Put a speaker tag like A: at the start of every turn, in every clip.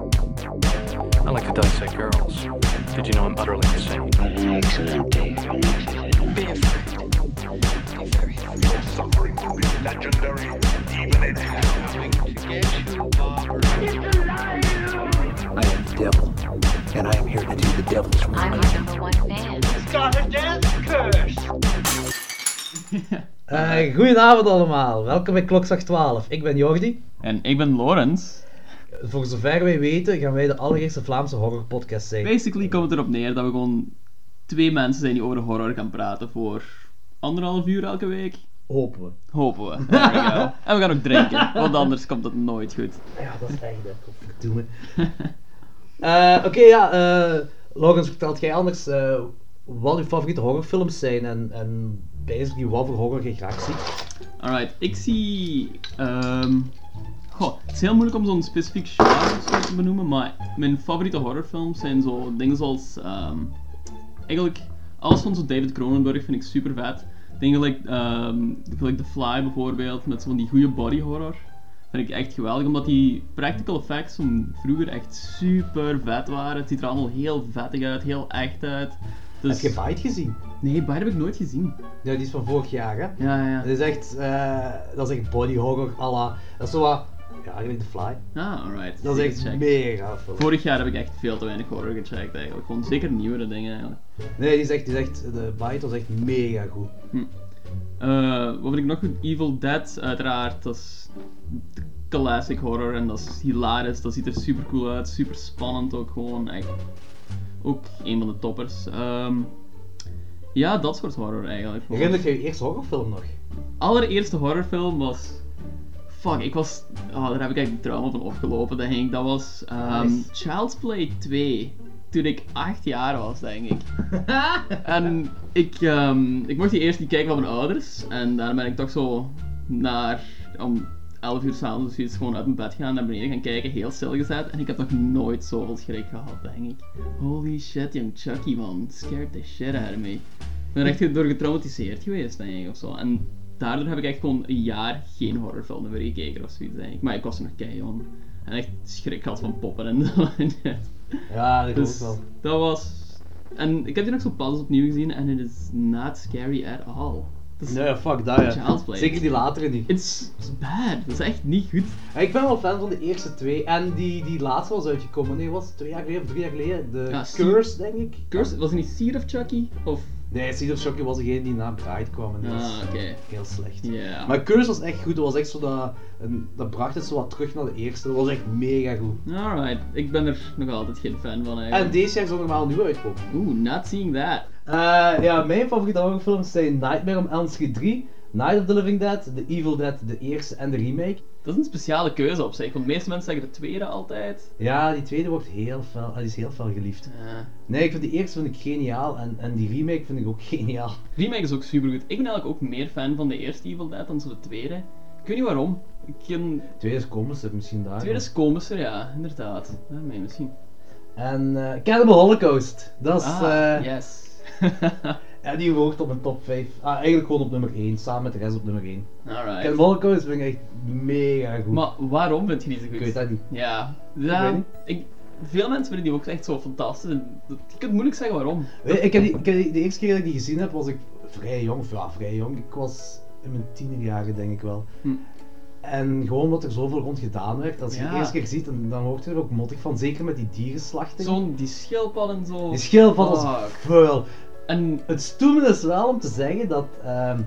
A: I like to dissect girls. Did you know I'm utterly insane?
B: Be afraid. Be very afraid.
C: Suffering to be legendary, even if you
D: I am the devil, and I am here to do the devil's work.
E: I'm your number one fan.
F: Eh, goedenavond allemaal, welkom bij Klokslag 12. Ik ben Jordi.
G: En ik ben Lorenz.
F: Voor zover wij weten gaan wij de allereerste Vlaamse horrorpodcast zijn.
G: Basically komt het erop neer dat we gewoon twee mensen zijn die over horror gaan praten voor anderhalf uur elke week.
F: Hopen we.
G: Hopen we. There we go. en we gaan ook drinken, want anders komt dat nooit goed.
F: Ja, dat is echt hè. Godverdomme. Eh, Oké, ja. eh Laurens, vertelt jij anders eh, wat uw favoriete horrorfilms zijn en, en basically wat voor horror je graag ziet?
G: Alright, ik zie. ehm, goh, het is heel moeilijk om zo'n specifiek genre of zo te benoemen, maar mijn favoriete horrorfilms zijn zo dingen zoals. ehm, eigenlijk, alles van zo David Cronenberg vind ik super vet. Dingen like, ehm, gelijk The Fly bijvoorbeeld, met zo'n die goede body horror. Vind ik echt geweldig, omdat die practical effects van vroeger echt super vet waren. Het ziet er allemaal heel vettig uit, heel echt uit. Dus...
F: Heb je Bite gezien?
G: Nee, Bite heb ik nooit gezien.
F: Ja, die is van vorig jaar hè.
G: Ja, ja, ja.
F: Dat is echt, eh, dat is echt body horror à la, dat is zo wat, ja, eigenlijk The Fly.
G: Ah, alright.
F: Dat is echt
G: Check.
F: mega film.
G: Vorig jaar heb ik echt veel te weinig horror gecheckt eigenlijk. Gewoon zeker nieuwere dingen eigenlijk.
F: Nee, die is echt, die is echt, de Bite was echt mega goed.
G: Eh, wat vind ik nog goed? Evil Dead, uiteraard. Dat is de classic horror en dat is hilarisch. Dat ziet er super cool uit, super spannend ook gewoon. Echt, ook een van de toppers. Ehm, ja, dat soort horror eigenlijk.
F: Herinnert je je eerste horrorfilm nog?
G: allereerste horrorfilm was. Fuck, ik was. Oh, daar heb ik eigenlijk trauma van opgelopen, denk ik. Dat was ehm,
F: Nice.
G: Child's Play 2. Toen ik 8 jaar was, denk ik. en ik, ehm, ik mocht die eerst niet kijken van mijn ouders. En daarna ben ik toch zo naar om 11 uur s'avonds zoiets gewoon uit mijn bed gaan naar beneden gaan kijken, heel stil gezet. En ik heb nog nooit zoveel schrik gehad, denk ik. Holy shit, young Chucky man, scared the shit out of me. Ik ben er echt door getraumatiseerd geweest, denk ik, of zo. En daardoor heb ik echt gewoon een jaar geen horrorfilm meer gekeken of zoiets, denk ik. Maar ik was er nog kei jong. En echt schrik had van poppen en zo.
F: Ja, dat
G: Dus
F: dus... wel.
G: dat was. En ik heb die nog zo pas opnieuw gezien en het is not scary at all. Het is-
F: Nee, fuck dat
G: Child's
F: ja.
G: Play.
F: Zeker die latere niet.
G: It's it's bad. Dat is echt niet goed.
F: Ik ben wel fan van de eerste twee. En die, die laatste was uitgekomen, nee, was het twee jaar geleden of drie jaar geleden? De
G: Ja, Seed-
F: Curse, denk ik.
G: Curse, was het niet Seed of Chucky? Of.
F: Nee, Seed of Shocky was degene die na Bride kwam en dat
G: Ah,
F: was
G: oké.
F: heel slecht.
G: Ja.
F: Maar Curse was echt goed, dat was echt zo dat, een- dat bracht het zo wat terug naar de eerste, dat was echt mega goed.
G: Alright, ik ben er nog altijd geen fan van
F: En
G: eigenlijk.
F: deze jaar zal normaal nu uitkomen.
G: Oeh, not seeing that.
F: Eh, ja, mijn favoriete horrorfilms zijn Nightmare on Elm Street 3, Night of the Living Dead, The Evil Dead, de eerste en de remake.
G: Dat is een speciale keuze op zich, want de meeste mensen zeggen de tweede altijd. Eh,
F: Ja, die tweede wordt heel fel, ah, die is heel fel geliefd.
G: Ja.
F: Nee, ik vind die eerste vind ik geniaal en, en die remake vind ik ook geniaal.
G: remake is ook supergoed. Ik ben eigenlijk ook meer fan van de eerste Evil Dead dan zo de tweede. Ik weet niet waarom. Ik ken...
F: De tweede is komisch, dat misschien daar.
G: De tweede is komischer, ja, inderdaad. Daarmee misschien.
F: En eh Cannibal Holocaust, dat is...
G: Ah,
F: eh,
G: yes.
F: En die hoort op mijn top 5. Ah, eigenlijk gewoon op nummer 1, samen met de rest op nummer 1.
G: Alright.
F: Cannibal Holocaust vind ik echt mega goed.
G: Maar waarom vind je die zo goed?
F: Ik weet dat niet.
G: Ja,
F: weet
G: ja
F: niet.
G: ik, veel mensen vinden die ook echt zo fantastisch. En dat- Je kunt moeilijk zeggen waarom.
F: Weet je, Ik heb die, ik heb die- de eerste keer dat ik die gezien heb, was ik vrij jong. Of ja, vrij jong. Ik was in mijn tienerjaren, denk ik wel.
G: Hm.
F: En gewoon wat er zoveel rond gedaan werd. Als je
G: Ja.
F: de eerste keer ziet, dan, dan hoort je er ook mottig van. Zeker met die dierenslachten.
G: Zo'n die schildpad en zo.
F: Die schildpad was
G: Fuck.
F: vuil.
G: En
F: Het stoemen is wel om te zeggen dat ehm,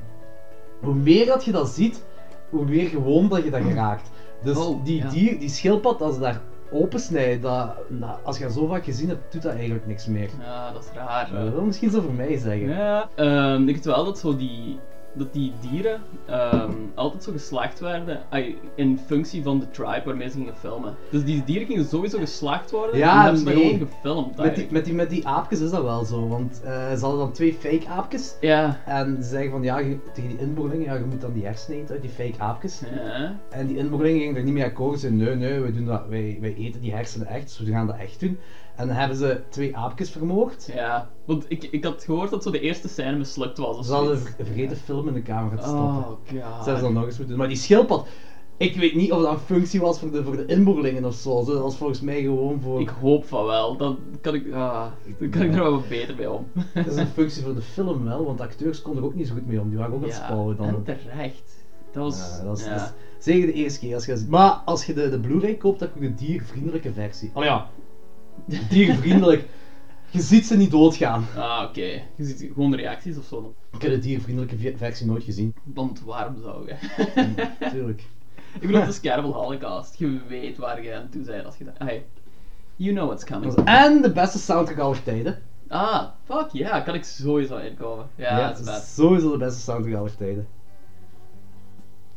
F: hoe meer dat je dat ziet, hoe meer gewoon dat je dat geraakt. Dus
G: Hm. Oh,
F: die,
G: ja.
F: dier, die schildpad, als ze daar opensnijdt, dat, nou, als je dat zo vaak gezien hebt, doet dat eigenlijk niks meer.
G: ja, dat is raar.
F: Eh, dat wil misschien zo voor mij zeggen.
G: Ja. Ehm, ik weet wel dat zo die, dat die dieren ehm, altijd zo geslacht werden ai, in functie van de tribe waarmee ze gingen filmen. Dus die dieren gingen sowieso geslacht worden
F: Ja, dus
G: en hebben ze dat
F: nee.
G: gewoon gefilmd.
F: Met die,
G: eigenlijk.
F: met, die, met die aapjes is dat wel zo, want eh, ze hadden dan twee fake aapjes.
G: Ja.
F: En ze zeggen van ja, je- tegen die inboorlingen, ja, je moet dan die hersenen eten uit die fake aapjes.
G: Ja.
F: En die inboorlingen gingen er niet mee akkoord. Ze zeiden nee, nee, wij, doen dat, wij, wij eten die hersenen echt, dus we gaan dat echt doen. En dan hebben ze twee aapjes vermoord.
G: Ja, want ik, ik had gehoord dat zo de eerste scène mislukt was. Of
F: Ze hadden
G: zoiets.
F: ver- vergeten film in de camera te stoppen.
G: Oh god.
F: Dat zouden ze dan nog eens moeten doen. Maar die schildpad, ik weet niet of dat een functie was voor de, voor de inboorlingen of zo. Dat was volgens mij gewoon voor.
G: Ik hoop van wel. Dan kan ik, ah, dan kan ik er wel wat beter bij om.
F: Dat is een functie voor de film wel, want de acteurs konden er ook niet zo goed mee om. Die waren ook aan het spouwen dan.
G: en terecht. Dat was...
F: Ja, dat is,
G: ja.
F: dat is zeker de eerste keer. Als je, dat ziet. maar als je de, de Blu-ray koopt, dan heb je de diervriendelijke versie. Oh ja, diervriendelijk. je ziet ze niet doodgaan.
G: Ah, oké. Je ziet gewoon reacties of zo. dan.
F: Ik heb de diervriendelijke vi- versie nooit gezien.
G: Want waarom zou je?
F: Tuurlijk.
G: ik bedoel, het is Cannibal Holocaust. Je weet waar je aan toe bent als je dat... Hey, you know what's coming.
F: En de beste soundtrack aller tijden.
G: Ah, fuck ja. kan ik sowieso inkomen. Ja, dat is
F: het
G: best.
F: sowieso de beste soundtrack aller tijden.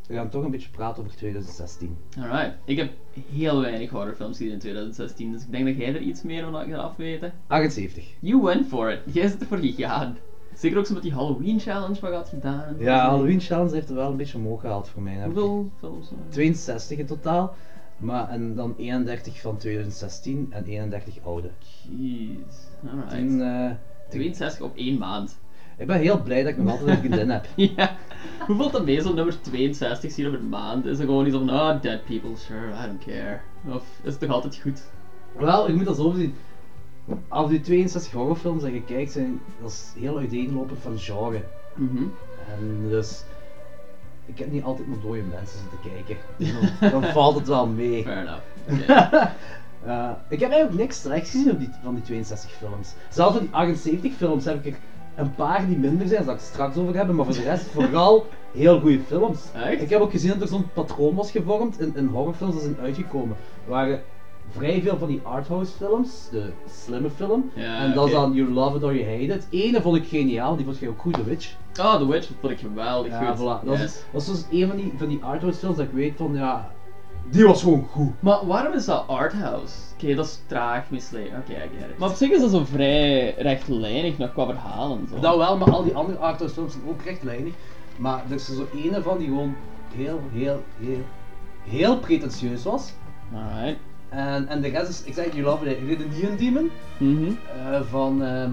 F: We gaan toch een beetje praten over 2016.
G: Alright. Ik heb heel weinig horrorfilms gezien in 2016, dus ik denk dat jij er iets meer van gaat afweten.
F: 78.
G: You went for it. Jij zit ervoor gegaan. Zeker ook zo met die Halloween challenge wat je had gedaan.
F: Ja, Halloween Challenge heeft het wel een beetje omhoog gehaald voor mij. hè.
G: Hoeveel films? waren er?
F: 62 in totaal. Maar, en dan 31 van 2016 en 31 oude.
G: Jeez.
F: En,
G: Alright.
F: eh,
G: 62 op één maand.
F: ik ben heel blij dat ik nog altijd een vriendin heb.
G: ja. Hoeveel dat meestal nummer 62 zien op een maand? Is er gewoon iets van, ah, dead people, sure, I don't care. Of is het toch altijd goed?
F: Wel, ik moet dat zo zien. Als die 62 horrorfilms dat je kijkt, zijn, dat is heel uiteenlopend van genre.
G: Mhm.
F: En dus, ik heb niet altijd naar dode mensen zitten kijken. Dan, dan valt het wel mee.
G: Fair enough. Oké.
F: Eh, ik heb eigenlijk niks slechts gezien op die, van die 62 films. Zelfs van die 78 films heb ik er een paar die minder zijn, zal ik het straks over hebben, maar voor de rest vooral heel goede films.
G: Echt?
F: Ik heb ook gezien dat er zo'n patroon was gevormd in, in horrorfilms dat zijn uitgekomen. Er waren vrij veel van die arthouse films, de slimme film,
G: Ja,
F: en dat is
G: oké.
F: dan You Love It or You Hate It. Ene vond ik geniaal, die vond jij ook goed, The Witch.
G: Ah, The Witch, dat vond ik geweldig
F: Ja,
G: goed.
F: voilà. Dat
G: Yes.
F: is was dus een van die, van die arthouse films dat ik weet van, ja, die was gewoon goed.
G: Maar waarom is dat arthouse? Oké, dat is traag misleid. Oké, ik get it. Maar op zich is dat zo vrij rechtlijnig nog qua verhalen en zo.
F: Dat wel, maar al die andere arthouse films zijn ook rechtlijnig. Maar er is er zo ene van die gewoon heel, heel, heel, heel pretentieus was.
G: Alright.
F: En, en de rest is, ik zeg het, You Love It, Ridden Neon Demon
G: Mhm.
F: eh, van, ehm,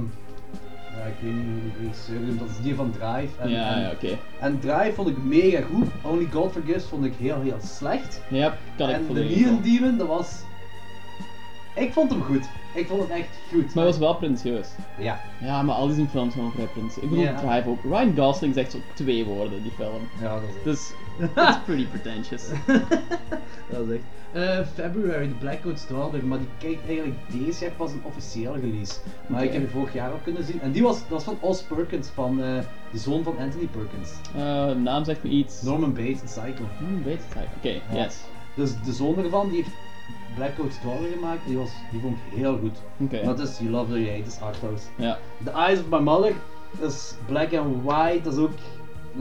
F: ja, ik weet niet hoe de regisseur noemt, dat is die van Drive. En,
G: Ja,
F: en,
G: ja, oké.
F: en Drive vond ik mega goed, Only God Forgives vond ik heel, heel slecht.
G: Ja, kan ik
F: en de
G: volledig
F: Neon
G: wel.
F: Demon, dat was... Ik vond hem goed. Ik vond hem echt goed.
G: Maar hij was wel pretentieus.
F: Ja.
G: Ja, maar al die films zijn ook vrij pretentieus. Ik bedoel,
F: Ja.
G: Drive ook. Ryan Gosling zegt zo twee woorden in die film.
F: Ja, dat is
G: Dus, that's pretty pretentious.
F: dat is echt. Eh, February, de Blackout's Daughter, maar die kijkt eigenlijk deze jaar pas een officiële release. Maar ik
G: Oké.
F: heb die vorig jaar al kunnen zien. En die was, dat was van Oz Perkins, van eh, de zoon van Anthony Perkins.
G: Eh, naam zegt me iets.
F: Norman Bates in Psycho.
G: Hmm, weet het eigenlijk. Oké,
F: Ja.
G: yes.
F: Dus de zoon ervan, die heeft Blackout's Daughter gemaakt, die, was, die vond ik heel goed.
G: Oké.
F: Dat is You Love That You Hate, is arthouse.
G: Ja.
F: The Eyes of My Mother, dat is black and white, dat is ook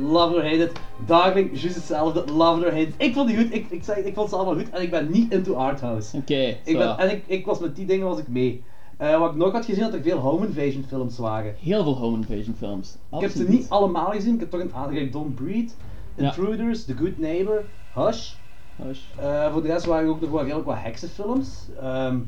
F: Love It or Hate It. Darling, juist hetzelfde, Love It or Hate It. Ik vond die goed, ik, ik, zei, ik vond ze allemaal goed en ik ben niet into arthouse.
G: Oké,
F: Ik
G: zo.
F: ben, en ik, ik was met die dingen was ik mee. Eh, wat ik nog had gezien, dat er veel home invasion films waren.
G: Heel veel home invasion films.
F: Ik heb ze niet allemaal gezien, ik heb toch een aantal. Ik Don't Breed,
G: Ja.
F: Intruders, The Good Neighbor, Hush.
G: Hush.
F: Eh, voor de rest waren er ook nog wel redelijk wat heksenfilms. Ehm,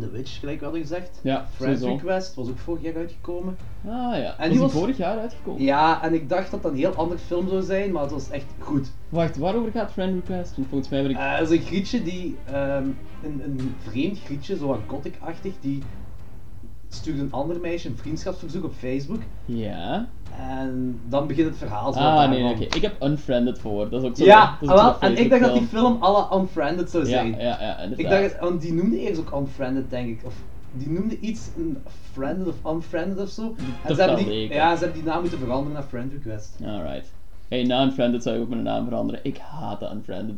F: The Witch, gelijk wel gezegd.
G: Ja,
F: Friends
G: sowieso.
F: Request was ook vorig jaar uitgekomen.
G: Ah ja.
F: die
G: was die
F: was-
G: vorig jaar uitgekomen?
F: Ja, en ik dacht dat dat een heel ander film zou zijn, maar het was echt goed.
G: Wacht, waarover gaat Friend Request? Want volgens mij ben ik...
F: Eh, dat is een grietje die, ehm, een, een vreemd grietje, zo wat gothic-achtig, die stuurt een ander meisje een vriendschapsverzoek op Facebook.
G: Ja.
F: En dan begint het verhaal. zo
G: Ah,
F: daarvan.
G: nee, nee, oké. Ik heb Unfriended voor. Dat is ook zo.
F: Ja, ah,
G: dat is ook
F: wel,
G: zo'n
F: en ik dacht dat die
G: Facebookfilm.
F: film alle Unfriended zou zijn.
G: Ja, ja, ja, inderdaad.
F: ik dacht, het- want die noemde eerst ook Unfriended, denk ik. Of die noemde iets een Friended of Unfriended of zo. En
G: Dat
F: ze, hebben
G: kan
F: die,
G: zeker.
F: ja, ze hebben die naam moeten veranderen naar Friend Request.
G: Alright. Hey, na Unfriended zou ik ook mijn naam veranderen. Ik haat de Unfriended.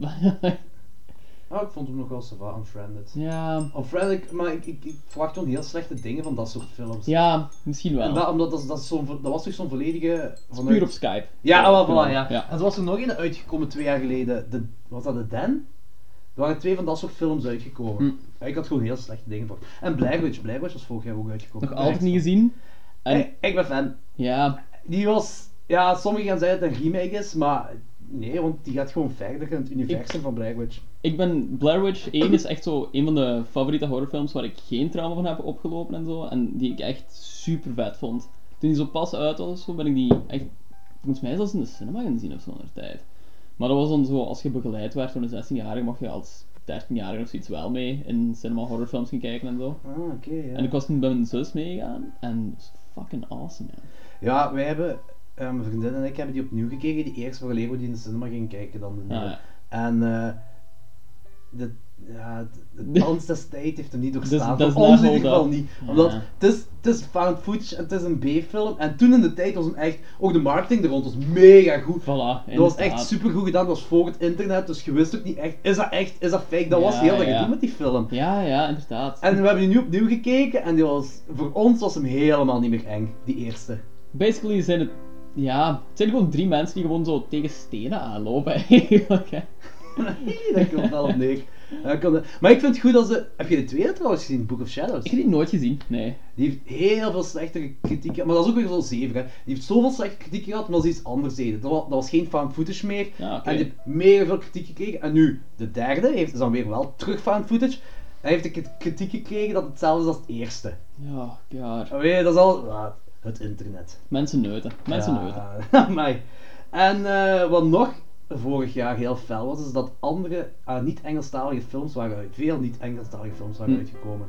F: Oh, ik vond hem nog wel sava Unfriended.
G: ja,
F: Unfriended, maar ik, ik, ik verwacht gewoon heel slechte dingen van dat soort films.
G: ja, misschien
F: En
G: wel.
F: dat, omdat dat, is- dat, is zo'n- dat was toch zo'n volledige... vanuit-
G: Puur op Skype.
F: Ja, ah, wel, voilà,
G: ja.
F: ja. En er was er nog een uitgekomen twee jaar geleden. De, was dat de Den? Er waren twee van dat soort films uitgekomen.
G: Hm.
F: Ja, Ik had gewoon heel slechte dingen voor. En Blair Witch, Blair Witch was vorig jaar ook uitgekomen.
G: Nog altijd niet gezien. En
F: Ik, ik ben fan.
G: ja,
F: Die was... Ja, sommigen gaan zeggen dat het een remake is, maar Nee, want die gaat gewoon verder in het universum van Blair Witch.
G: Ik ben Blair Witch 1 is echt zo een van de favoriete horrorfilms waar ik geen trauma van heb opgelopen en zo. En die ik echt super vet vond. Toen die zo pas uit was, zo ben ik die echt volgens mij zelfs in de cinema gaan zien of zo in de tijd. Maar dat was dan zo, als je begeleid werd door een 16-jarige, mag je als 13-jarige of zoiets wel mee in cinema horrorfilms gaan kijken en zo.
F: Ah, oké. ja.
G: En ik was toen bij mijn zus meegegaan en dat was fucking awesome, ja.
F: Ja, wij hebben, eh, mijn vriendin en ik hebben die opnieuw gekeken. Die eerste voor Lego die in de cinema ging kijken dan de nieuwe.
G: ja.
F: En eh de, ja, de, de dans des tijd heeft hem niet doorstaan.
G: dat is
F: voor ons
G: na
F: in ieder geval
G: hold-up.
F: niet. Omdat
G: Ja.
F: het, is, het is found footage en het is een B-film. En toen in de tijd was hem echt, ook de marketing er rond was mega goed.
G: Voilà,
F: Dat was echt super goed gedaan, dat was voor het internet, dus je wist ook niet echt, is dat echt, is dat fake? Dat was
G: Ja,
F: heel dat
G: ja.
F: gedoe met die film.
G: Ja, ja, inderdaad.
F: En we hebben die nu opnieuw gekeken en die was, voor ons was hem helemaal niet meer eng, die eerste.
G: Basically zijn het, ja, het zijn gewoon drie mensen die gewoon zo tegen stenen aanlopen eigenlijk. hè.
F: dat komt wel op neer. Dat komt wel- Maar ik vind het goed dat ze... Heb je de tweede trouwens gezien, Book of Shadows?
G: Ik heb die nooit gezien, nee.
F: Die heeft heel veel slechtere kritiek gehad. Maar dat is ook weer zo'n zeven, hè. Die heeft zoveel slechte kritiek gehad, omdat ze iets anders deden. Dat was, dat was geen found footage meer.
G: Ja, Ah, oké.
F: En die heeft mega veel kritiek gekregen. En nu, de derde, heeft is dan weer wel terug found footage. Hij heeft de kri- kritiek gekregen dat hetzelfde is als het eerste.
G: Ja, ja.
F: En weet je, dat is al... ja, het internet.
G: Mensen neuten, mensen neuten.
F: Ja, amai. En eh, wat nog vorig jaar heel fel was, is dat andere eh, niet-Engelstalige films waren uit. Veel niet-Engelstalige films waren
G: Hm.
F: uitgekomen.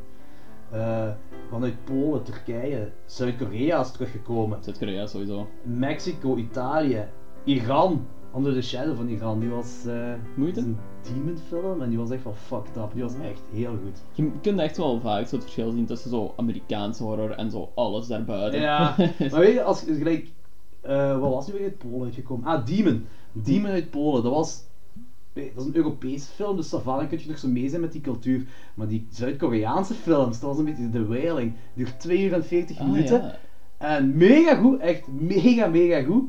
F: Eh, vanuit Polen, Turkije, Zuid-Korea is teruggekomen.
G: Zuid-Korea sowieso.
F: Mexico, Italië, Iran. Under the Shadow van Iran, die was eh,
G: Moeite?
F: een demonfilm en die was echt wel fucked up. Die was echt heel goed.
G: Je kunt echt wel vaak zo het verschil zien tussen zo Amerikaanse horror en zo alles daarbuiten. Ah,
F: Ja, maar weet je, als gelijk. eh, wat was nu weer uit Polen uitgekomen? Ah, Demon. Demon uit Polen, dat was. nee, Dat is een Europees film, dus daarvan kun je nog zo mee zijn met die cultuur. Maar die Zuid-Koreaanse films, dat was een beetje de wailing. Duurt 2 uur en 40
G: Ah,
F: minuten.
G: ja.
F: En mega goed, echt mega, mega goed.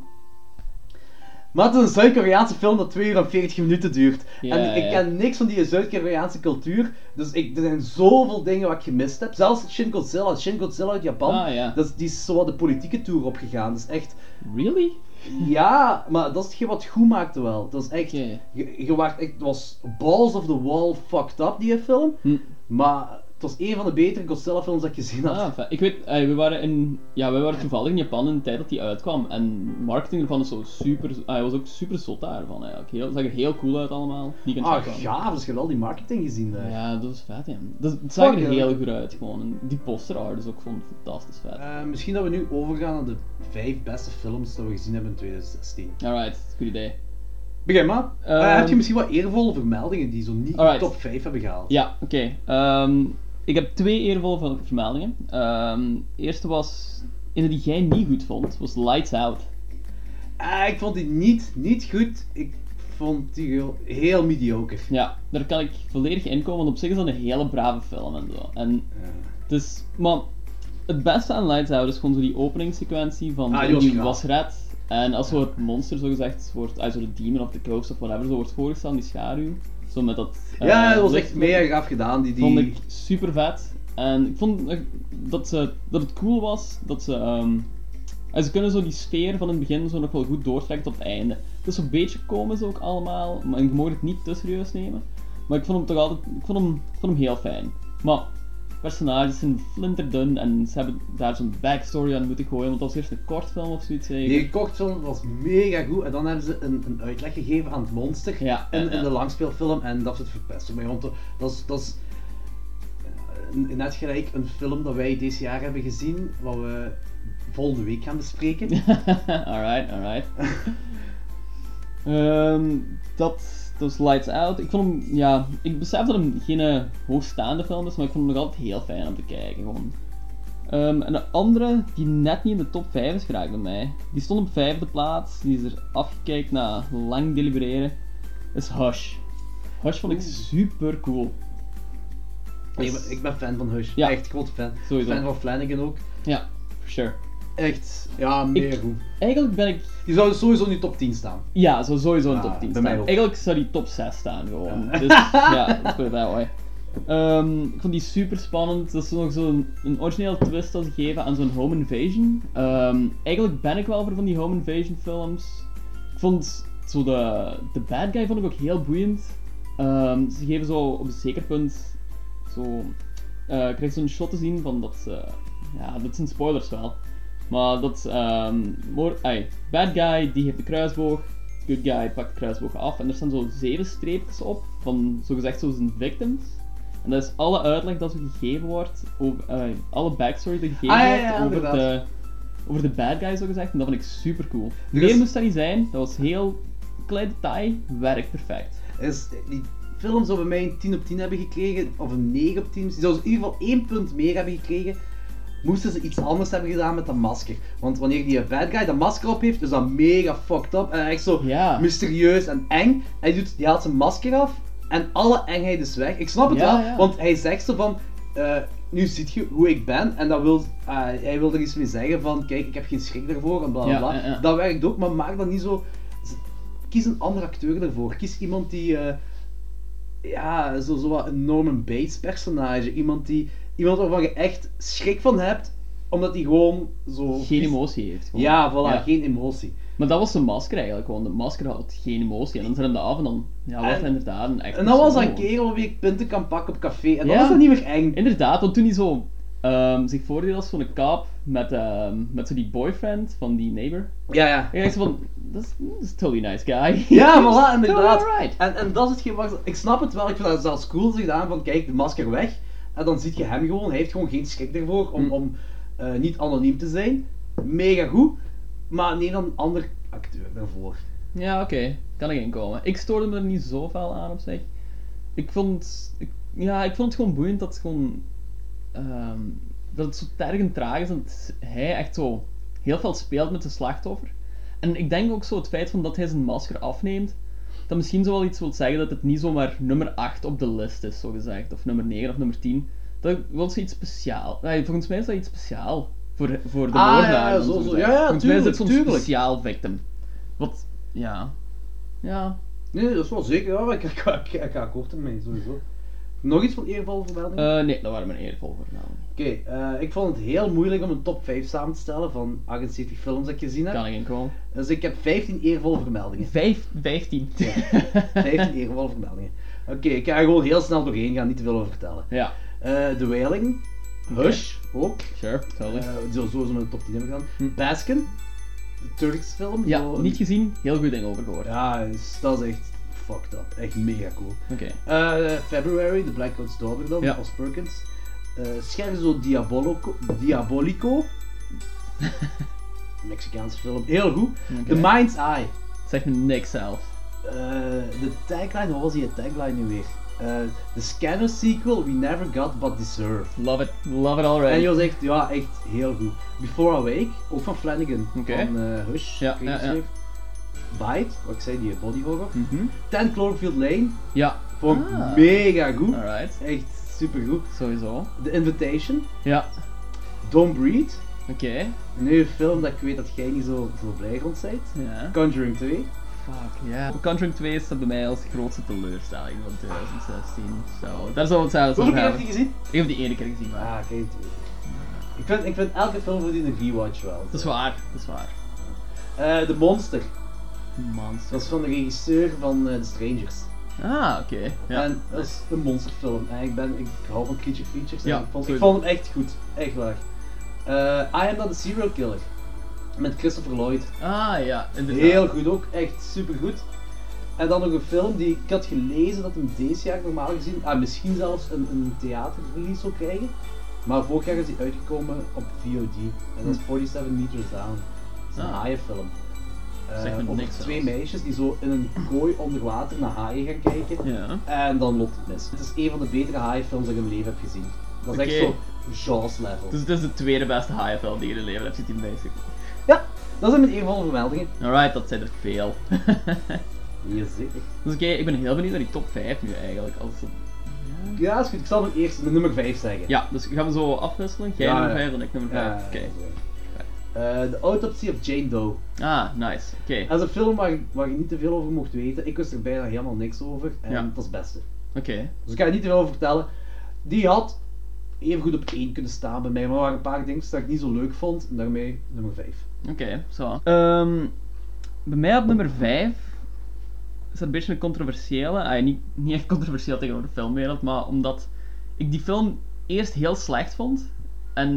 F: Maar het is een Zuid-Koreaanse film dat 2 uur en 40 minuten duurt.
G: Ja,
F: en ik
G: ja.
F: ken niks van die Zuid-Koreaanse cultuur. Dus ik, er zijn zoveel dingen wat ik gemist heb. Zelfs Shin Godzilla. Shin Godzilla uit Japan.
G: Ah, ja.
F: dat is, die is zo wat de politieke tour opgegaan. Dus echt...
G: Really?
F: Ja, maar dat is hetgeen wat het goed maakte wel. Dat is echt...
G: Oké.
F: Je, je waart echt... Het was balls of the wall fucked up, die film.
G: Hm.
F: Maar het was een van de betere Godzilla films dat ik gezien had.
G: Ah, fijn. ik weet, eh, we waren in, ja, wij waren toevallig in Japan in de tijd dat die uitkwam. En marketing ervan is zo super, ah, hij was ook super zot daarvan eigenlijk. Heel, zag er heel cool uit allemaal. Die kant
F: Ah,
G: Japan.
F: gaaf. Dus je hebt wel die marketing gezien daar.
G: Ja, dat is vet, ja. Dat, het zag er
F: Fuck, ja.
G: heel goed uit, gewoon. En die poster art is ook gewoon fantastisch vet.
F: Eh, misschien dat we nu overgaan naar de vijf beste films dat we gezien hebben in 2016.
G: Alright, goed idee.
F: Begin maar. Eh,
G: Ehm,
F: heb je misschien wat eervolle vermeldingen die zo niet in de
G: alright.
F: top 5 hebben gehaald?
G: Ja, oké. Ehm, ik heb twee eervolle ver- vermeldingen. Ehm, de eerste was, een die jij niet goed vond, was Lights Out.
F: Eh, ik vond die niet, niet goed. Ik vond die heel, heel mediocre.
G: Ja, daar kan ik volledig in komen, want op zich is dat een hele brave film en zo. En het is, maar Dus, het beste aan Lights Out is gewoon zo die openingssequentie van
F: Ah,
G: zo
F: die was
G: die
F: gaaf.
G: wasret. En als zo het monster zogezegd wordt, ah, zo de demon of the ghost of whatever, zo wordt voorgesteld, die schaduw. Zo met dat... eh,
F: ja, dat was
G: licht-
F: echt mega gaaf gedaan. Die, die...
G: vond ik super vet. En ik vond eh, dat, ze, dat het cool was dat ze. ehm, en ze kunnen zo die sfeer van het begin zo nog wel goed doortrekken tot het einde. Het is zo'n beetje komen ze ook allemaal, maar je mag het niet te serieus nemen. Maar ik vond hem toch altijd. Ik vond hem, ik vond hem heel fijn. Maar personages zijn flinterdun en ze hebben daar zo'n backstory aan moeten gooien, want dat was eerst een kort film of zoiets. zeker?
F: Die gekocht film was mega goed. En dan hebben ze een, een uitleg gegeven aan het monster.
G: Ja,
F: in,
G: ja,
F: in
G: ja.
F: de langspeelfilm. En dat is het verpesten. Maar want dat- dat is, dat is eh, net gelijk een film dat wij dit jaar hebben gezien. Wat we volgende week gaan bespreken.
G: alright, alright. Ehm, dat, dat was Lights Out. Ik vond hem, ja, ik besef dat hem geen eh, hoogstaande film is, maar ik vond hem nog altijd heel fijn om te kijken. Gewoon. Ehm, en de andere, die net niet in de top 5 is geraakt bij mij, die stond op vijfde plaats, die is er afgekeken na lang delibereren, is Hush. Hush vond ik super cool.
F: ik, ben, ik ben fan van Hush.
G: dus- Ja.
F: Echt groot fan.
G: Sowieso.
F: Fan van Flanagan ook.
G: Ja, for sure.
F: Echt, ja, mega
G: Ik-
F: goed.
G: Eigenlijk ben ik
F: Die zou sowieso in de top 10 staan.
G: Ja, zou sowieso in de
F: Ah,
G: top 10
F: bij
G: staan.
F: mij ook.
G: Eigenlijk zou die top 6 staan gewoon. Dus ja, dat is dat hoor. Ehm, ik vond die super spannend. Dat is nog zo'n een origineel twist dat ze geven aan zo'n home invasion. Ehm, eigenlijk ben ik wel voor van die home invasion films. Ik vond zo de, de bad guy vond ik ook heel boeiend. Ehm, ze geven zo op een zeker punt zo. eh krijg je zo'n shot te zien van dat. ze- ja, dat zijn spoilers wel. Maar dat. ehm moor- ai, bad guy die heeft de kruisboog. Good guy pakt de kruisboog af. En er staan zo zeven streepjes op van zogezegd zo zijn victims. En dat is alle uitleg dat er gegeven wordt. Over, ai, alle backstory die gegeven
H: Ah, ja, ja,
G: wordt over
H: inderdaad.
G: de. Over de bad guy zo gezegd, en dat vond ik super cool.
H: Er
G: Meer
H: is-
G: moest dat niet zijn, dat was heel klein detail, werkt perfect.
F: is Dus die film zou bij mij een 10 op 10 hebben gekregen, of een 9 op 10. Die zou in ieder geval één punt meer hebben gekregen. Moesten ze iets anders hebben gedaan met dat masker. Want wanneer die bad guy dat masker op heeft, is dat mega fucked up. En echt zo
G: Ja.
F: mysterieus en eng. Hij, doet, die haalt zijn masker af en alle engheid is weg. Ik snap het
G: Ja,
F: wel,
G: ja.
F: want hij zegt zo van... eh, nu ziet je hoe ik ben en dat wil, eh, hij wil er iets mee zeggen van kijk ik heb geen schrik daarvoor en bla bla
G: Ja,
F: bla.
G: ja, ja.
F: Dat werkt ook, maar maak dat niet zo kies een andere acteur daarvoor. Kies iemand die, eh, ja, zo, zo wat een Norman Bates personage. Iemand, die, iemand waarvan je echt schrik van hebt, omdat die gewoon zo...
G: Geen emotie heeft. gewoon.
F: Ja, voilà,
G: Ja.
F: geen emotie.
G: Maar dat was zijn masker eigenlijk gewoon. De masker had geen emotie. En dan zet hem dat af en dan ja, was
F: En-
G: hij inderdaad een echt
F: En dan was dat een
G: persoon.
F: kerel wie ik punten kan pakken op café. En dan
G: Ja.
F: was dat niet meer eng.
G: Inderdaad, want toen hij zo ehm, zich voordeed als zo'n kaap met, ehm, met zo die boyfriend van die neighbor.
F: Ja, ja.
G: En ik dacht zo van, dat is, dat is totally nice guy.
F: Ja, voilà, inderdaad.
G: alright.
F: En, en dat is hetgeen waar ze- Ik snap het wel, ik vind dat zelfs cool ze gedaan van kijk, de masker weg. En dan ziet je hem gewoon, hij heeft gewoon geen schrik ervoor om, om eh, niet anoniem te zijn. Mega goed. Maar neem dan een ander acteur daarvoor.
G: Ja, oké. Kan ik inkomen. Ik stoorde me er niet zoveel aan op zich. Ik vond... Ik, ja, ik vond het gewoon boeiend dat het gewoon... ehm, dat het zo tergend traag is en dat hij echt zo heel veel speelt met de slachtoffer. En ik denk ook zo het feit van dat hij zijn masker afneemt, dat misschien zo wel iets wil zeggen dat het niet zomaar nummer 8 op de list is, zo gezegd. Of nummer 9 of nummer 10. Dat wil zoiets speciaal. Nee, volgens mij is dat iets speciaal voor, voor de
F: Ah, ja,
G: moordenaar.
F: ja,
G: om
F: zo- zo.
G: te zeggen.
F: Ja, ja,
G: Volgens mij is
F: tuurlijk,
G: dit zo'n
F: tuurlijk.
G: speciaal victim. Wat, ja. Ja.
F: Nee, dat is wel zeker. Ja, maar ik, ik, ik, ik ga akkoord mee, sowieso. Nog iets van eervolle vermelding?
G: Eh, nee, dat waren mijn eervolle vermeldingen.
F: Oké, eh, ik vond het heel moeilijk om een top 5 samen te stellen van 78 films dat ik gezien heb.
G: Kan ik inkomen.
F: Dus ik heb 15 eervolle vermeldingen.
G: Vijf, vijftien.
F: 15 eervolle vermeldingen. Oké, ik ga er gewoon heel snel doorheen gaan, niet te veel over vertellen.
G: ja,
F: Eh The Wailing. Hush, ook.
G: sure, totally.
F: Eh die zou sowieso mijn top 10 hebben gedaan. Baskin. De Turks film.
G: Hm. ja,
F: zo-
G: niet gezien, heel goed ding over gehoord.
F: Eh, Ja, is- dat is echt fucked up. Echt mega cool.
G: Oké.
F: Eh, February, The Black Coat's Daughter dan,
G: Ja.
F: als Perkins. Eh Scherzo Diabolico, Diabolico. Mexicaanse film, heel goed.
G: Oké.
F: The Mind's Eye.
G: Zeg me niks zelf.
F: Eh, de tagline, wat was die tagline nu weer? Eh the Scanner sequel we never got but deserve.
G: Love it, love it
F: En
G: already.
F: je was echt, ja, echt heel goed. Before Awake, ook van Flanagan.
G: Oké.
F: Van eh, Hush.
G: Ja,
F: ik weet niet
G: ja, ja.
F: zeker. Bite, wat ik zei, die body horror.
G: Mhm.
F: Ten Cloverfield Lane,
G: Ja,
F: vond ik
G: Ah.
F: mega goed.
G: alright.
F: Echt supergoed.
G: Sowieso.
F: The Invitation,
G: Ja,
F: Don't Breathe,
G: oké.
F: een nieuwe film dat ik weet dat jij niet zo, zo blij rond bent.
G: Ja.
F: Conjuring 2,
G: Fuck, ja. Conjuring 2 staat bij mij als de grootste teleurstelling van 2016. Zo, daar zal het zelfs
F: Hoeveel keer heb
G: over
F: je die
G: hebben.
F: gezien?
G: Ik heb die ene keer gezien, maar...
F: Ah, kijk. Ik vind, ik vind elke film verdient een rewatch wel.
G: Dat is waar, dat is waar.
F: Eh, de Monster.
G: Monster.
F: Dat is van de regisseur van eh The Strangers.
G: Ah, oké. Ja.
F: En dat is een monsterfilm. En ik, ben, ik hou van creature features. en
G: Ja,
F: ik, vond, ik
G: sowieso.
F: vond hem echt goed. Echt waar. Eh, I Am Not a Serial Killer. Met Christopher Lloyd.
G: Ah, ja, inderdaad.
F: Heel goed ook. Echt supergoed. En dan nog een film die ik had gelezen dat hem deze jaar normaal gezien, ah, misschien zelfs een, een theaterrelease zou krijgen. Maar vorig jaar is die uitgekomen op VOD. En dat is 47 Meters Down. Dat is een
G: Hm. Ah.
F: haaienfilm. Eh,
G: Zegt me
F: over
G: niks
F: twee
G: zelfs.
F: meisjes die zo in een kooi onder water naar haaien gaan kijken.
G: Ja.
F: En dan loopt het mis. Het is een van de betere haaienfilms die ik in mijn leven heb gezien. Dat is echt
G: Oké.
F: zo Jaws level.
G: Dus het is de tweede beste HFL die je in je leven hebt gezien, basically.
F: Ja, dat zijn mijn eervolle vermeldingen.
G: Alright, dat zijn er veel.
F: Jazeker.
G: dus oké, ik ben heel benieuwd naar die top 5 nu eigenlijk. Als...
F: Ja, is goed. Ik zal mijn eerste, mijn nummer 5 zeggen.
G: Ja, dus gaan we zo afwisselen. Jij
F: Ja,
G: nummer
F: ja.
G: 5 en ik nummer 5.
F: Eh,
G: Oké.
F: eh, de Autopsy of Jane Doe.
G: Ah, nice. Oké.
F: Dat is een film waar, waar je niet te veel over mocht weten. Ik wist er bijna helemaal niks over. En
G: Ja.
F: dat is het beste.
G: Oké.
F: Dus ik ga er niet te veel over vertellen. Die had even goed op één kunnen staan bij mij. Maar er waren een paar dingen dat ik niet zo leuk vond. En daarmee nummer 5.
G: Oké, zo. Ehm, bij mij op nummer 5 is dat een beetje een controversiële. ah, niet, niet echt controversieel tegenover de filmwereld, maar omdat ik die film eerst heel slecht vond. En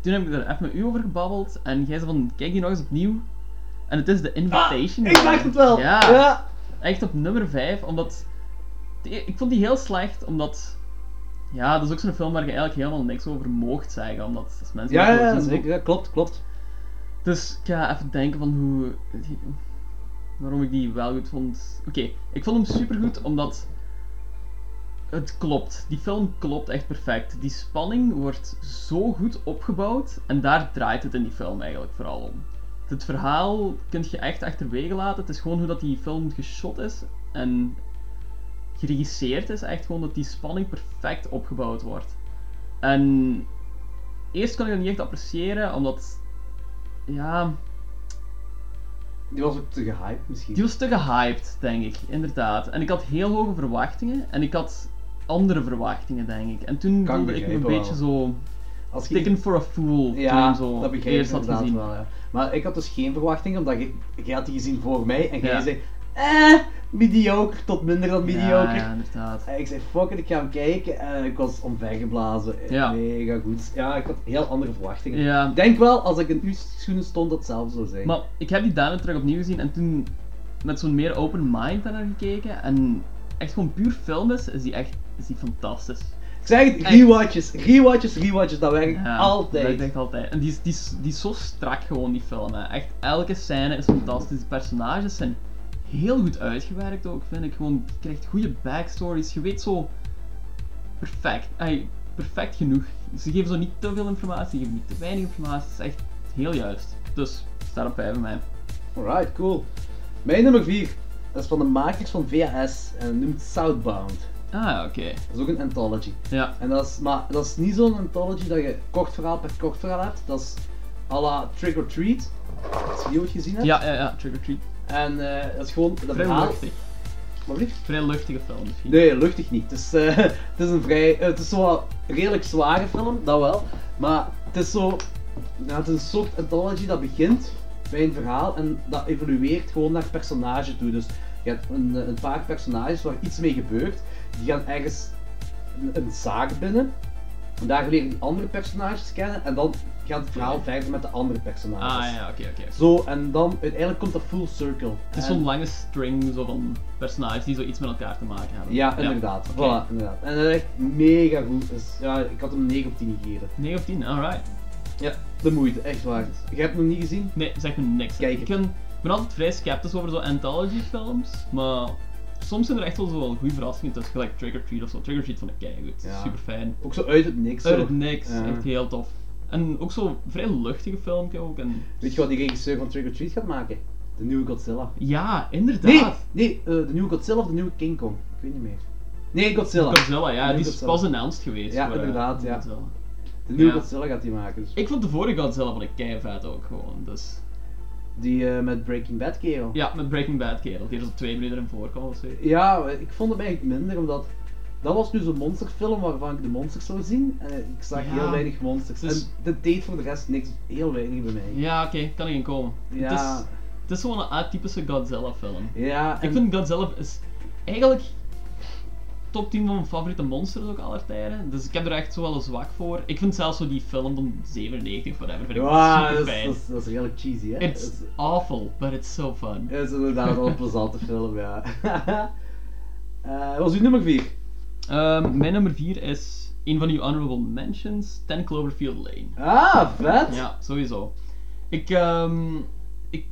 G: toen heb ik er even met u over gebabbeld. En jij zei van, kijk die nog eens opnieuw. En het is The Invitation.
H: Ah, Ik dacht het wel!
G: Ja.
H: ja.
G: Echt op nummer 5, omdat... die- Ik vond die heel slecht, omdat... Ja, dat is ook zo'n film waar je eigenlijk helemaal niks over moogt zeggen, omdat als mensen...
H: Ja,
G: dat
H: ja,
G: zo-
H: zeker. Ja, klopt, klopt.
G: dus ik ga even denken van hoe. waarom ik die wel goed vond. Oké, ik vond hem supergoed omdat. Het klopt. Die film klopt echt perfect. Die spanning wordt zo goed opgebouwd en daar draait het in die film eigenlijk vooral om. Het verhaal kun je echt achterwege laten. Het is gewoon hoe dat die film geshot is en geregisseerd is. Echt gewoon dat die spanning perfect opgebouwd wordt. En eerst kon ik dat niet echt appreciëren omdat ja,
F: Die was ook te gehyped misschien.
G: die was te gehyped, denk ik, inderdaad. En ik had heel hoge verwachtingen en ik had andere verwachtingen, denk ik. En toen
F: Kan ik
G: voelde ik me een
F: begrijpen
G: beetje
F: wel.
G: zo
F: Als je-
G: taken for a fool
F: ja,
G: toen zo
F: dat begrijp ik
G: eerst had
F: inderdaad
G: gezien.
F: wel. Ja. Maar ik had dus geen verwachting, omdat je, jij had die gezien voor mij en jij
G: Ja.
F: zei, eh, mediocre tot minder dan
G: Ja,
F: mediocre.
G: ja, inderdaad.
F: En ik zei, fuck it, ik ga hem kijken en ik was omvergeblazen.
G: Ja.
F: Mega goed. Ja, ik had heel andere verwachtingen.
G: Ja.
F: Ik denk wel, als ik in uw schoenen stond, dat het zelf zou zijn.
G: Maar ik heb die daarna terug opnieuw gezien en toen met zo'n meer open mind daarnaar gekeken en echt gewoon puur film is, is die echt is die fantastisch.
F: Ik zeg het,
G: Echt.
F: rewatches, rewatches, rewatches, dat werkt
G: Ja, Dat
F: altijd.
G: werkt echt altijd. En die is, die, is, die is zo strak gewoon, die film. Hè. Echt, elke scène is fantastisch. Die personages zijn heel goed uitgewerkt ook, vind ik. Gewoon, je krijgt goede backstories. Je weet zo perfect. ey, perfect genoeg. Ze geven zo niet te veel informatie, ze geven niet te weinig informatie. Het is echt heel juist. Dus, staat op 5 bij mij.
F: Alright, cool. Mijn nummer 4, dat is van de makers van VHS en het noemt Southbound.
G: Ah, ja, oké.
F: Dat is ook een anthology.
G: Ja.
F: En dat is, maar dat is niet zo'n anthology dat je kort verhaal per kort verhaal hebt. Dat is à la Trick or Treat. Als je die ooit gezien hebt.
G: Ja, ja, ja. Trick or Treat.
F: En eh, dat is gewoon... Dat
G: Vrij
F: verhaal...
G: luchtig.
F: Wat blieft?
G: Vrij luchtige film misschien.
F: Nee, luchtig niet. Het is, eh, het is een vrij... eh, het is zo wel een redelijk zware film, dat wel. Maar het is zo... Nou, het is een soort anthology dat begint bij een verhaal en dat evolueert gewoon naar personage toe. Dus je hebt een, eh, een paar personages waar iets mee gebeurt. Die gaan ergens een, een zaak binnen. En daar leren die andere personages kennen en dan gaat het verhaal verder met de andere personages.
G: Ah, ja, oké, oké.
F: Zo, en dan uiteindelijk komt dat full circle.
G: Het is
F: En-
G: zo'n lange string zo van personages die zoiets met elkaar te maken hebben.
F: Ja, inderdaad.
G: oké.
F: Voilà, inderdaad. En dat is echt mega goed. Dus, ja, ik had hem 9 op 10 gegeven.
G: 9 of 10, alright.
F: Ja, de moeite, echt waar. Je hebt hem niet gezien?
G: Nee, zeg me niks.
F: Kijk.
G: Ik ben, ik ben altijd vrij sceptisch over zo'n anthology films, maar soms zijn er echt wel zo wel goede verrassingen tussen, gelijk Trigger Treat of zo. Trigger Treat vond ik keigoed,
F: Ja.
G: super fijn.
F: Ook zo uit het niks.
G: Uit
F: zo.
G: het niks,
F: Ja.
G: echt heel tof. En ook zo'n vrij luchtige filmpje ook. En...
F: Weet je wat die regisseur van Trick or Treat gaat maken? De nieuwe Godzilla.
G: Ja,
F: Nee,
G: inderdaad.
F: nee eh, de nieuwe Godzilla of de nieuwe King Kong? Ik weet niet meer. Nee, Godzilla.
G: Godzilla, ja,
F: Nee,
G: die is
F: Godzilla.
G: pas announced geweest.
F: Ja,
G: voor, eh,
F: inderdaad, ja.
G: Godzilla.
F: De nieuwe
G: Ja.
F: Godzilla gaat die maken. Dus
G: Ik vond de vorige Godzilla van ik kei vet ook gewoon, dus...
F: die eh, met Breaking Bad kerel.
G: Ja, met Breaking Bad kerel, die er zo twee minuten in voorkwam of zo.
F: Ja, ik vond hem eigenlijk minder, omdat... Dat was nu zo'n monsterfilm waarvan ik de monsters zou zien. En ik zag
G: Ja.
F: heel weinig monsters.
G: Dus-
F: En dat deed voor de rest niks. Heel weinig bij mij.
G: Ja, oké, kan ik in komen.
F: Ja.
G: Het, is, het is gewoon een atypische Godzilla film.
F: Ja, en-
G: Ik vind Godzilla is eigenlijk top 10 van mijn favoriete monsters ook aller tijden. Dus ik heb er echt zo wel een zwak voor. Ik vind zelfs zo die film van 97 of whatever, vind ik
F: Wow,
G: super
F: dat, is,
G: fijn.
F: dat, is, dat is redelijk cheesy, hè?
G: It's
F: Dat
G: awful, but it's so fun.
F: is, dat is inderdaad wel een plezante film, ja. Eh, Wat was uw nummer 4?
G: Ehm, mijn nummer 4 is een van uw honorable mentions, 10 Cloverfield Lane.
F: Ah, vet!
G: Ja, sowieso. Ik, ehm, ik,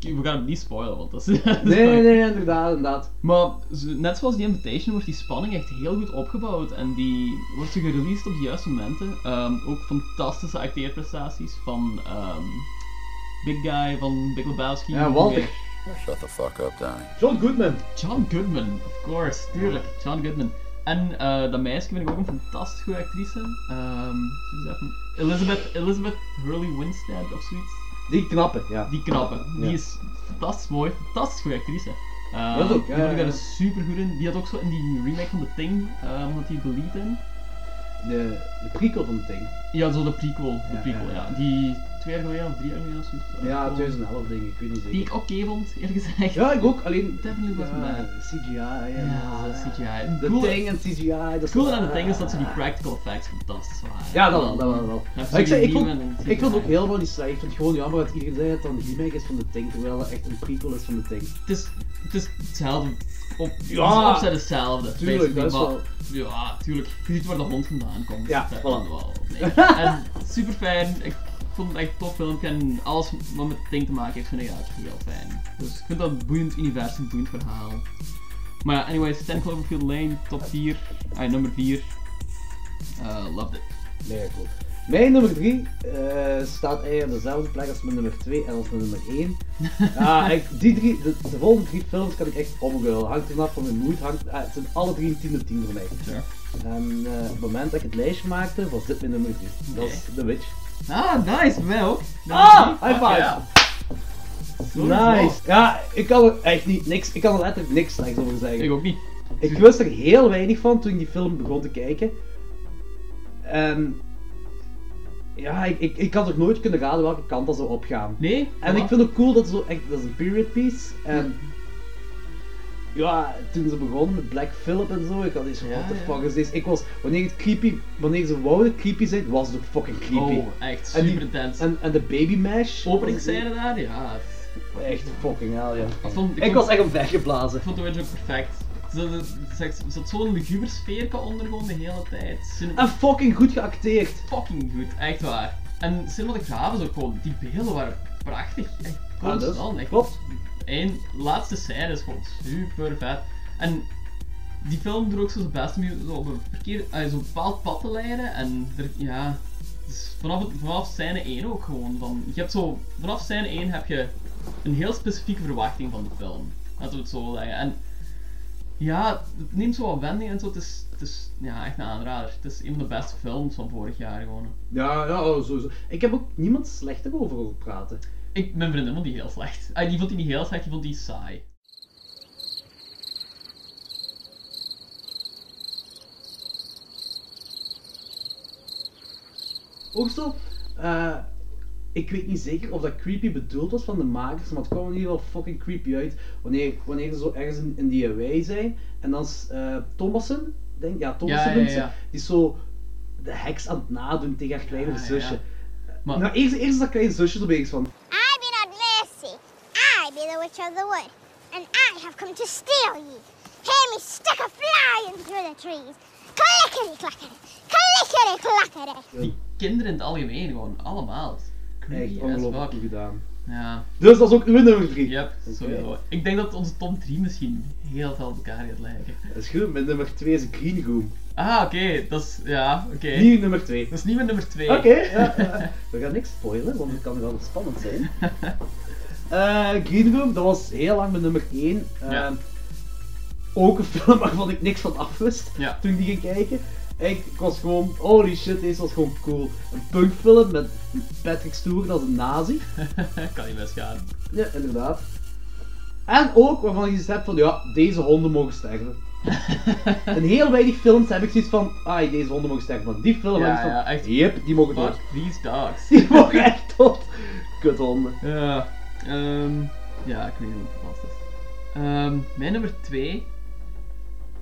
G: ik- we gaan hem niet spoilen, want dat is... dat is
F: Nee, nee,
G: fucked.
F: nee, inderdaad, inderdaad.
G: Maar zo- net zoals die Invitation wordt die spanning echt heel goed opgebouwd en die wordt zo gereleased op de juiste momenten. Ehm, ook fantastische acteerprestaties van ehm, Big Guy, van Big Lebowski.
F: Ja, Walter.
I: Shut the fuck up, Donnie.
F: John Goodman.
G: John Goodman, of course, tuurlijk, John Goodman. En eh, dat meisje vind ik ook een fantastisch goede actrice. Ehm, hoe is dat? Elizabeth, Elizabeth Hurley Winstead of zoiets.
F: Die knappe, ja.
G: Die knappe. Die
F: Ja.
G: is fantastisch mooi, fantastisch goede actrice. Eh,
F: Dat ook,
G: die
F: ja,
G: vond ik
F: ja.
G: daar super goed in. Die had ook zo in die remake van The Thing, eh had die Delete in.
F: De, de prequel van het ding.
G: Ja, zo de prequel. De
F: Ja,
G: prequel,
F: ja,
G: ja.
F: ja.
G: Die twee jaar geleden of drie jaar geleden of zoiets.
F: Ja,
G: uitgekomen.
F: 2011 denk ik, ik weet niet zeker.
G: Die ik oké vond, eerlijk gezegd.
F: Ja, ik ook, alleen...
G: Definitely was
F: Ja,
G: mad.
F: CGI,
G: Ja, eh,
F: ja.
G: CGI.
F: De
G: Cool-
F: thing en CGI, dat
G: Het
F: is...
G: coole aan de thing is dat ze die practical effects fantastisch waren.
F: Ja, dat wel, dat wel. wel.
G: Ja,
F: Maar ik, zei, ik, vond,
G: Demon en
F: ik vond
G: CGI.
F: ook helemaal niet saai. Ik vind het gewoon jammer dat iedereen zei dat het een remake is van de Thing, terwijl het echt een prequel is van de Thing.
G: Het is, het is hetzelfde. Op,
F: Ja,
G: de opzet is hetzelfde.
F: tuurlijk,
G: basically,
F: dat
G: maar- Ja, tuurlijk. Je ziet waar de hond vandaan komt.
F: Ja,
G: Dat-
F: voilà.
G: wel, nee. En super fijn. Ik vond het echt een tof filmpje en alles wat met Thing te maken heeft, vind ik eigenlijk heel fijn. Dus ik vind dat een boeiend universum, een boeiend verhaal. Maar ja, anyways, Stan Cloverfield Lane, top 4. Ah, nummer 4. Eh loved it.
F: Nee, cool. Mijn nummer 3 staat eigenlijk op dezelfde plek als mijn nummer 2 en als mijn nummer 1. Ah, ik- die drie, de, de volgende drie films kan ik echt omgeulen. Hangt ervan af van mijn moed. Hangt, ah, het zijn alle drie een 10 op 10 voor mij.
G: Sure.
F: En eh, op het moment dat ik het lijstje maakte, was dit mijn nummer 3. Dat was The Witch.
G: Ah, nice, bij mij ook. Oh!
F: Ah, high five!
G: Ja. Zo is het
F: Nice! Ja, ik kan er echt niet, niks, ik kan er letterlijk niks slechts over
G: wel.
F: zeggen.
G: Ik ook niet.
F: Ik wist er heel weinig van toen ik die film begon te kijken. En ja, ik, ik, ik had ook nooit kunnen raden welke kant dat zou opgaan.
G: Nee?
F: En ik vind het cool dat het zo echt, dat is een period piece. En ja, toen ze begonnen met Black Phillip en zo, ik had iets van,
G: Ja,
F: what the
G: ja.
F: fuck is this? Ik was, wanneer het creepy, wanneer ze wouden creepy zijn, was het ook fucking creepy.
G: Oh, echt
F: En die-
G: super intens.
F: En, en de baby mash.
G: Openingsscène daar, ja.
F: Echt fucking hell, ja.
G: Ik, vond, ik,
F: Ik
G: vond,
F: was echt op weggeblazen.
G: ik vond de Witch ook perfect. Er zat, zat zo'n luguber sfeer onder gewoon de hele tijd. Cine-
F: En fucking goed geacteerd.
G: fucking goed, echt waar. En cinematografen ook gewoon, die beelden waren prachtig. Echt
F: Ah, dat is-
G: constant, echt
F: klopt.
G: Eén laatste scène is gewoon super vet. En die film doet ook zo zijn best om je zo op een, verkeer, eh, zo'n bepaald pad te leiden. En er, ja, dus vanaf, het- vanaf scène 1 ook gewoon. Van, je hebt zo, vanaf scène 1 heb je een heel specifieke verwachting van de film. Laten we het zo zeggen. En ja, het neemt zo wat wending en zo. Het is, het is ja, echt een aanrader. Het is een van de beste films van vorig jaar gewoon.
F: Ja, ja, oh, sowieso. Ik heb ook niemand slechter over horen praten.
G: Ik, mijn vriendin vond die heel slecht. Ah, die vond die niet heel slecht, die vond die saai.
F: Ook zo, eh, ik weet niet zeker of dat creepy bedoeld was van de makers, maar het kwam in ieder geval fucking creepy uit wanneer, wanneer ze zo ergens in, in die wij zijn en dan is eh, Thomassen, denk ja, Thomassen
G: Ja,
F: noemt
G: ja,
F: ze,
G: ja.
F: die is zo de heks aan het nadoen tegen haar kleine
G: Ja, ja,
F: zusje.
G: Maar
F: Nou, eerst, eerst is dat kleine zusje zo bezig van,
J: I be not Lassie. I be the witch of the wood. And I have come to steal ye. Hear me stick a fly in through the trees. Clickety clackety. Clickety clackety.
G: die kinderen in het algemeen gewoon, allemaal. Creepy
F: echt
G: as
F: ongelooflijk goed
G: fuck.
F: gedaan.
G: Ja,
F: Dus dat is ook uw nummer 3.
G: yep, sowieso. Ik denk dat onze top 3 misschien heel veel op elkaar gaat lijken.
F: Dat is goed, mijn nummer 2 is Green Room.
G: Ah, oké, dat is, ja, oké.
F: Nieuw nummer 2.
G: Dat is niet mijn nummer 2.
F: Oké, ja, ja. we gaan niks spoilen, want het kan wel spannend zijn. Eh Green Room, dat was heel lang mijn nummer 1.
G: Ja.
F: Ook een film waarvan ik niks van af wist
G: Ja.
F: toen ik die ging kijken. Ik, ik was gewoon, holy shit, deze was gewoon cool. Een punkfilm met Patrick Stewart als een nazi.
G: kan niet best gaan.
F: Ja, inderdaad. En ook waarvan je zoiets hebt van, ja, deze honden mogen sterven. In heel weinig films heb ik zoiets van, ah, deze honden mogen sterven. Maar die film
G: Ja,
F: heb ik van,
G: ja, echt.
F: yep, die mogen dood.
G: Fuck these dogs.
F: Die mogen echt tot Kuthonden.
G: Ja, Eh, ehm, ja, ik weet niet hoe het vast is. Ehm, mijn nummer 2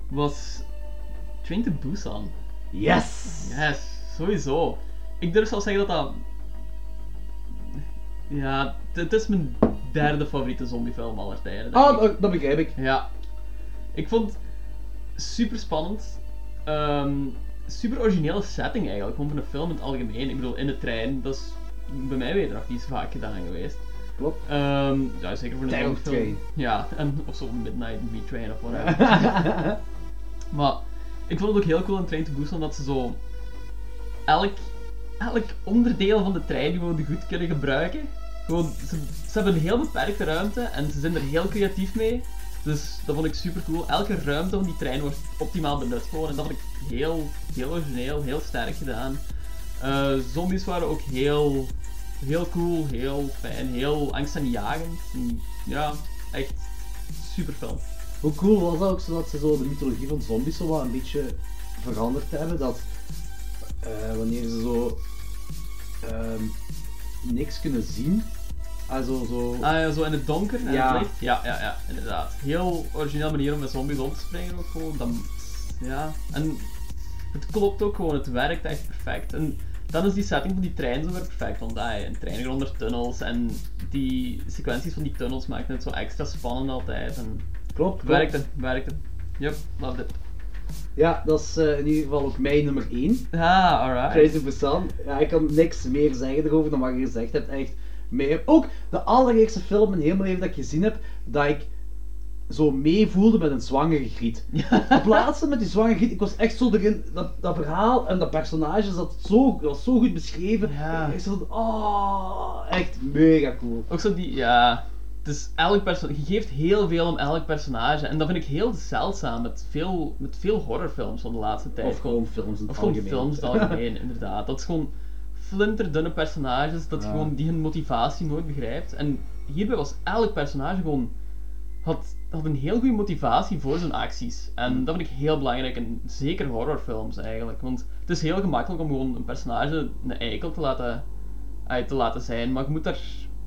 G: was Train to Busan.
F: Yes!
G: Yes, sowieso. Ik durf zelfs zeggen dat dat. Ja, t- het is mijn derde favoriete zombiefilm aller tijden. denk
F: Ah,
G: ik.
F: dat, dat begrijp ik.
G: Ja. Ik vond het super spannend. Ehm, super originele setting eigenlijk. Gewoon van een film in het algemeen. Ik bedoel, in de trein. Dat is bij mij weer nog niet zo vaak gedaan geweest.
F: Klopt.
G: Ehm, ja, zeker voor een
F: Tijd op
G: zombiefilm.
F: train.
G: Ja, en, of zo'n Midnight Meat Train of whatever. Maar ik vond het ook heel cool in Train to Busan dat ze zo elk, elk onderdeel van de trein gewoon goed kunnen gebruiken. Gewoon, ze, ze hebben een heel beperkte ruimte en ze zijn er heel creatief mee. Dus dat vond ik super cool. Elke ruimte van die trein wordt optimaal benut gewoon. En dat vond ik heel, heel origineel, heel sterk gedaan. Eh, zombies waren ook heel, heel cool, heel fijn, heel angstaanjagend. En Ja, echt super film.
F: Hoe cool was dat ook zo dat ze zo de mythologie van zombies zo wat een beetje veranderd hebben? Dat eh, wanneer ze zo ehm, niks kunnen zien. Also, zo.
G: Ah ja, zo in het donker. en
F: Ja.
G: het licht. ja, ja, ja, inderdaad. Heel origineel manier om met zombies om te springen ook gewoon. Dan, ja, en het klopt ook gewoon, het werkt echt perfect. En dan is die setting van die trein zo weer perfect, want ah, een trein gaat onder tunnels en die sequenties van die tunnels maken het zo extra spannend altijd. En
F: klopt, klopt.
G: werkte, werkte. Yep, loved it.
F: Ja, dat is eh, in ieder geval ook mijn nummer 1.
G: Ah, alright.
F: Crazy Busan. Ja, ik kan niks meer zeggen erover dan wat je gezegd hebt. Echt meer. Ook de allereerste film in heel mijn leven dat ik gezien heb, dat ik zo meevoelde met een zwangere griet. Op laatste met die zwangere griet, ik was echt zo erin, dat, dat verhaal en dat personage zat zo, dat was zo goed beschreven.
G: Ja.
F: Ik zat, oh, echt mega cool.
G: Ook zo die, ja. Dus elk perso- je geeft heel veel om elk personage. En dat vind ik heel zeldzaam met veel, met veel horrorfilms van de laatste tijd.
F: Of gewoon films in het
G: Of gewoon
F: algemeen.
G: films in het algemeen, inderdaad. Dat is gewoon flinterdunne personages dat
F: Ja.
G: gewoon die hun motivatie nooit begrijpt. En hierbij was elk personage gewoon. Had, had een heel goede motivatie voor zijn acties.
F: Hmm.
G: En dat vind ik heel belangrijk, en zeker horrorfilms eigenlijk. Want het is heel gemakkelijk om gewoon een personage een eikel te laten, eh, te laten zijn, maar je moet, daar,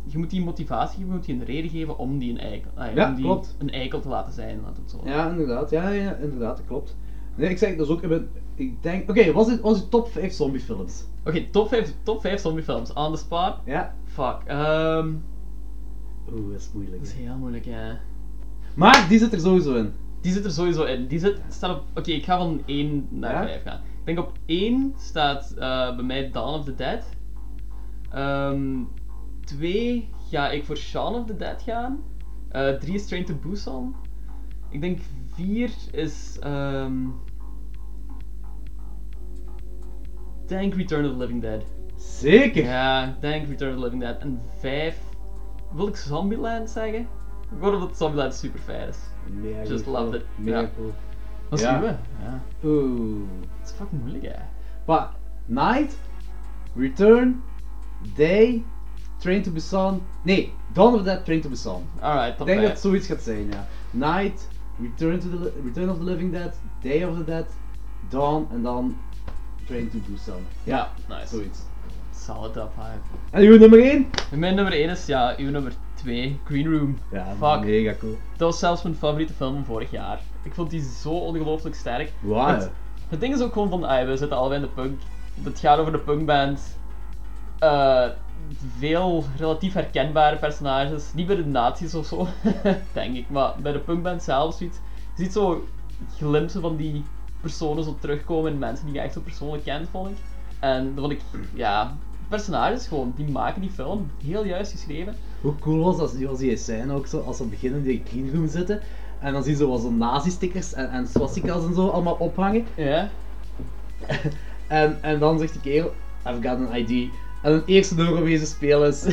G: je moet die motivatie geven, je moet die een reden geven om die een eikel, eh,
F: Ja,
G: om die
F: klopt.
G: een eikel te laten zijn, laat het zo.
F: Ja, inderdaad. Ja, ja, inderdaad, dat klopt. Nee, ik zeg, dat is ook... in mijn- Ik denk... Oké, was dit was dit top 5 zombiefilms?
G: Oké, top 5 top vijf zombiefilms. On the spot,
F: Ja?
G: Fuck, ehm.
F: Oeh, dat is moeilijk.
G: Dat is
F: hè.
G: heel moeilijk, ja.
F: Maar die zit er sowieso in.
G: Die zit er sowieso in. Die zit, staat op. Oké, ik ga van 1 naar
F: Ja?
G: 5 gaan. Ik denk op 1 staat eh, bij mij Dawn of the Dead. Ehm 2 ga ik voor Shaun of the Dead gaan. 3 is Train to Busan. Ik denk 4 is. ehm Tank Return of the Living Dead.
F: Zeker!
G: Ja, denk Return of the Living Dead. En 5. Wil ik Zombieland zeggen? Gewoon omdat Zombieland super fijn is.
F: Mega
G: Just
F: cool.
G: loved it.
F: Mega
G: Ja.
F: cool.
G: Wat
F: Ja.
G: zien we? Ja.
F: Oeh.
G: Dat is fucking moeilijk, hè.
F: Maar, Night, Return, Day, Train to Busan. Nee, Dawn of the Dead, Train to Busan.
G: Alright,
F: Ik
G: top
F: denk dat
G: vijf.
F: het zoiets gaat zijn, ja. Night, Return, to the, Li- Return of the Living Dead, Day of the Dead, Dawn en dan Train to Busan. Ja,
G: nice.
F: zoiets.
G: Solid top 5.
F: En uw nummer 1?
G: En mijn nummer 1 is, ja, uw nummer 2, Green Room.
F: Ja,
G: Fuck.
F: mega cool.
G: Dat was zelfs mijn favoriete film van vorig jaar. Ik vond die zo ongelooflijk sterk.
F: Wauw.
G: Het, het ding is ook gewoon van, ah, we zitten allebei in de punk. Het gaat over de punkband. Eh, veel relatief herkenbare personages. Niet bij de nazi's of zo, denk ik. Maar bij de punkband zelf zoiets. Je ziet zo glimpsen van die personen zo terugkomen. En mensen die je echt zo persoonlijk kent, vond ik. En dat vond ik, ja... Personages gewoon, die maken die film. Heel juist geschreven.
F: Hoe cool was dat als die zijn ook zo, als ze beginnen in die green room zitten en dan zien ze wel zo'n nazi-stickers en, en swastikas en zo allemaal ophangen.
G: Ja.
F: En, en dan zegt die kerel, I've got an ID. En het eerste nummer wezen spelen is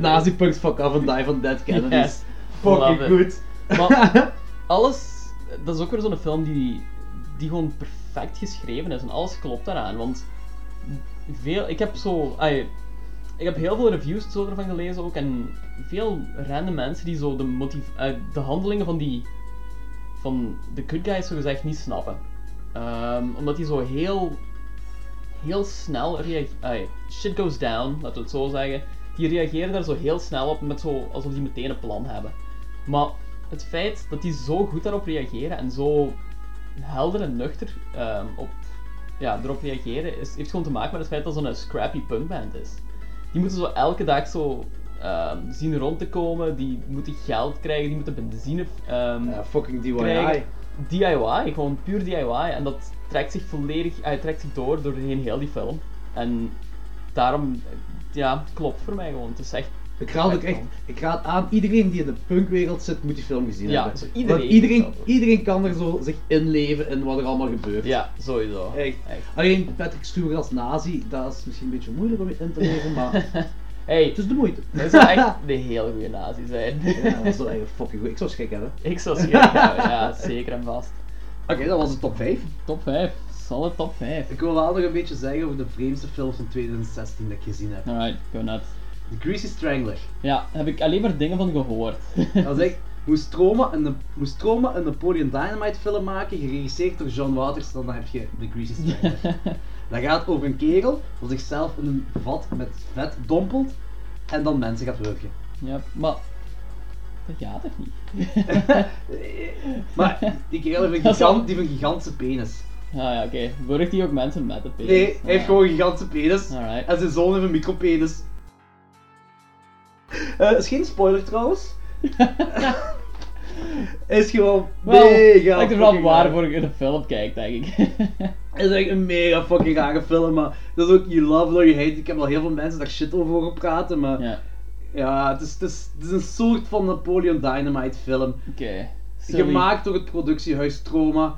F: nazi-punks fuck off and die van Dead Kennedys.
G: Yes.
F: Fucking
G: Love
F: goed.
G: it. Maar alles, dat is ook weer zo'n film die, die gewoon perfect geschreven is en alles klopt daaraan. Want veel, ik heb zo, ai, ik heb heel veel reviews zo ervan gelezen ook en veel random mensen die zo de, motiv, eh, de handelingen van die, van de good guys zo gezegd niet snappen. Ehm, omdat die zo heel, heel snel reageren. Shit goes down, laten we het zo zeggen. Die reageren daar zo heel snel op, met zo, alsof die meteen een plan hebben. Maar het feit dat die zo goed daarop reageren en zo helder en nuchter ehm, op, ja, erop reageren, is, heeft gewoon te maken met het feit dat het zo'n scrappy punkband is. Die moeten zo elke dag zo ehm, zien rond te komen, die moeten geld krijgen, die moeten benzine ehm,
F: Ja, fucking DIY.
G: krijgen. DIY, gewoon puur DIY. En dat trekt zich volledig, eh, trekt zich door doorheen heel die film. En daarom, eh, ja, klopt voor mij gewoon. Het is echt
F: Ik raad ook echt, ik raad aan, iedereen die in de punkwereld zit, moet die film gezien
G: Ja,
F: hebben.
G: zo iedereen
F: Want iedereen,
G: moet dat doen.
F: iedereen kan er zo zich inleven in wat er allemaal gebeurt.
G: Ja, sowieso.
F: Echt. Alleen Patrick Stewart als nazi, dat is misschien een beetje moeilijk om je in te leven, maar
G: Hey,
F: het is de moeite.
G: dat zou echt de hele goede nazi zijn.
F: Ja, dat zou eigenlijk fucking goed. Ik zou schrik hebben.
G: Ik zou schrik hebben, ja, zeker en vast.
F: Oké, dat was de top 5.
G: Top 5. Solid top 5.
F: Ik wil wel nog een beetje zeggen over de vreemdste films van 2016 dat ik gezien heb.
G: Alright, go nuts.
F: The Greasy Strangler.
G: Ja, heb ik alleen maar dingen van gehoord.
F: Dat is echt Moestroma en de, Moestroma een Napoleon Dynamite film maken, geregisseerd door John Waters, dan heb je The Greasy Strangler. Dat gaat over een kerel dat zichzelf in een vat met vet dompelt. en dan mensen gaat wurgen.
G: Ja, maar... Dat gaat toch niet?
F: Maar die kerel heeft een,
G: Dat is wel-
F: gigant, die heeft een gigantische penis.
G: Ah ja, oké. Wurgt hij ook mensen met de penis?
F: Nee, hij heeft
G: Ah.
F: gewoon een gigantische penis.
G: Alright.
F: En zijn zoon heeft een micropenis. Eh is geen spoiler trouwens. is gewoon
G: Wel,
F: mega
G: lijkt er wel
F: fucking raar.
G: waarvoor ik de film kijk, denk ik.
F: Het is echt een mega fucking rare film, maar dat is ook you love it or you hate it. Ik heb al heel veel mensen daar shit over horen praten, maar ja,
G: ja,
F: het, is, het, is, het is een soort van Napoleon Dynamite film.
G: oké. Silly.
F: Gemaakt door het productiehuis Troma,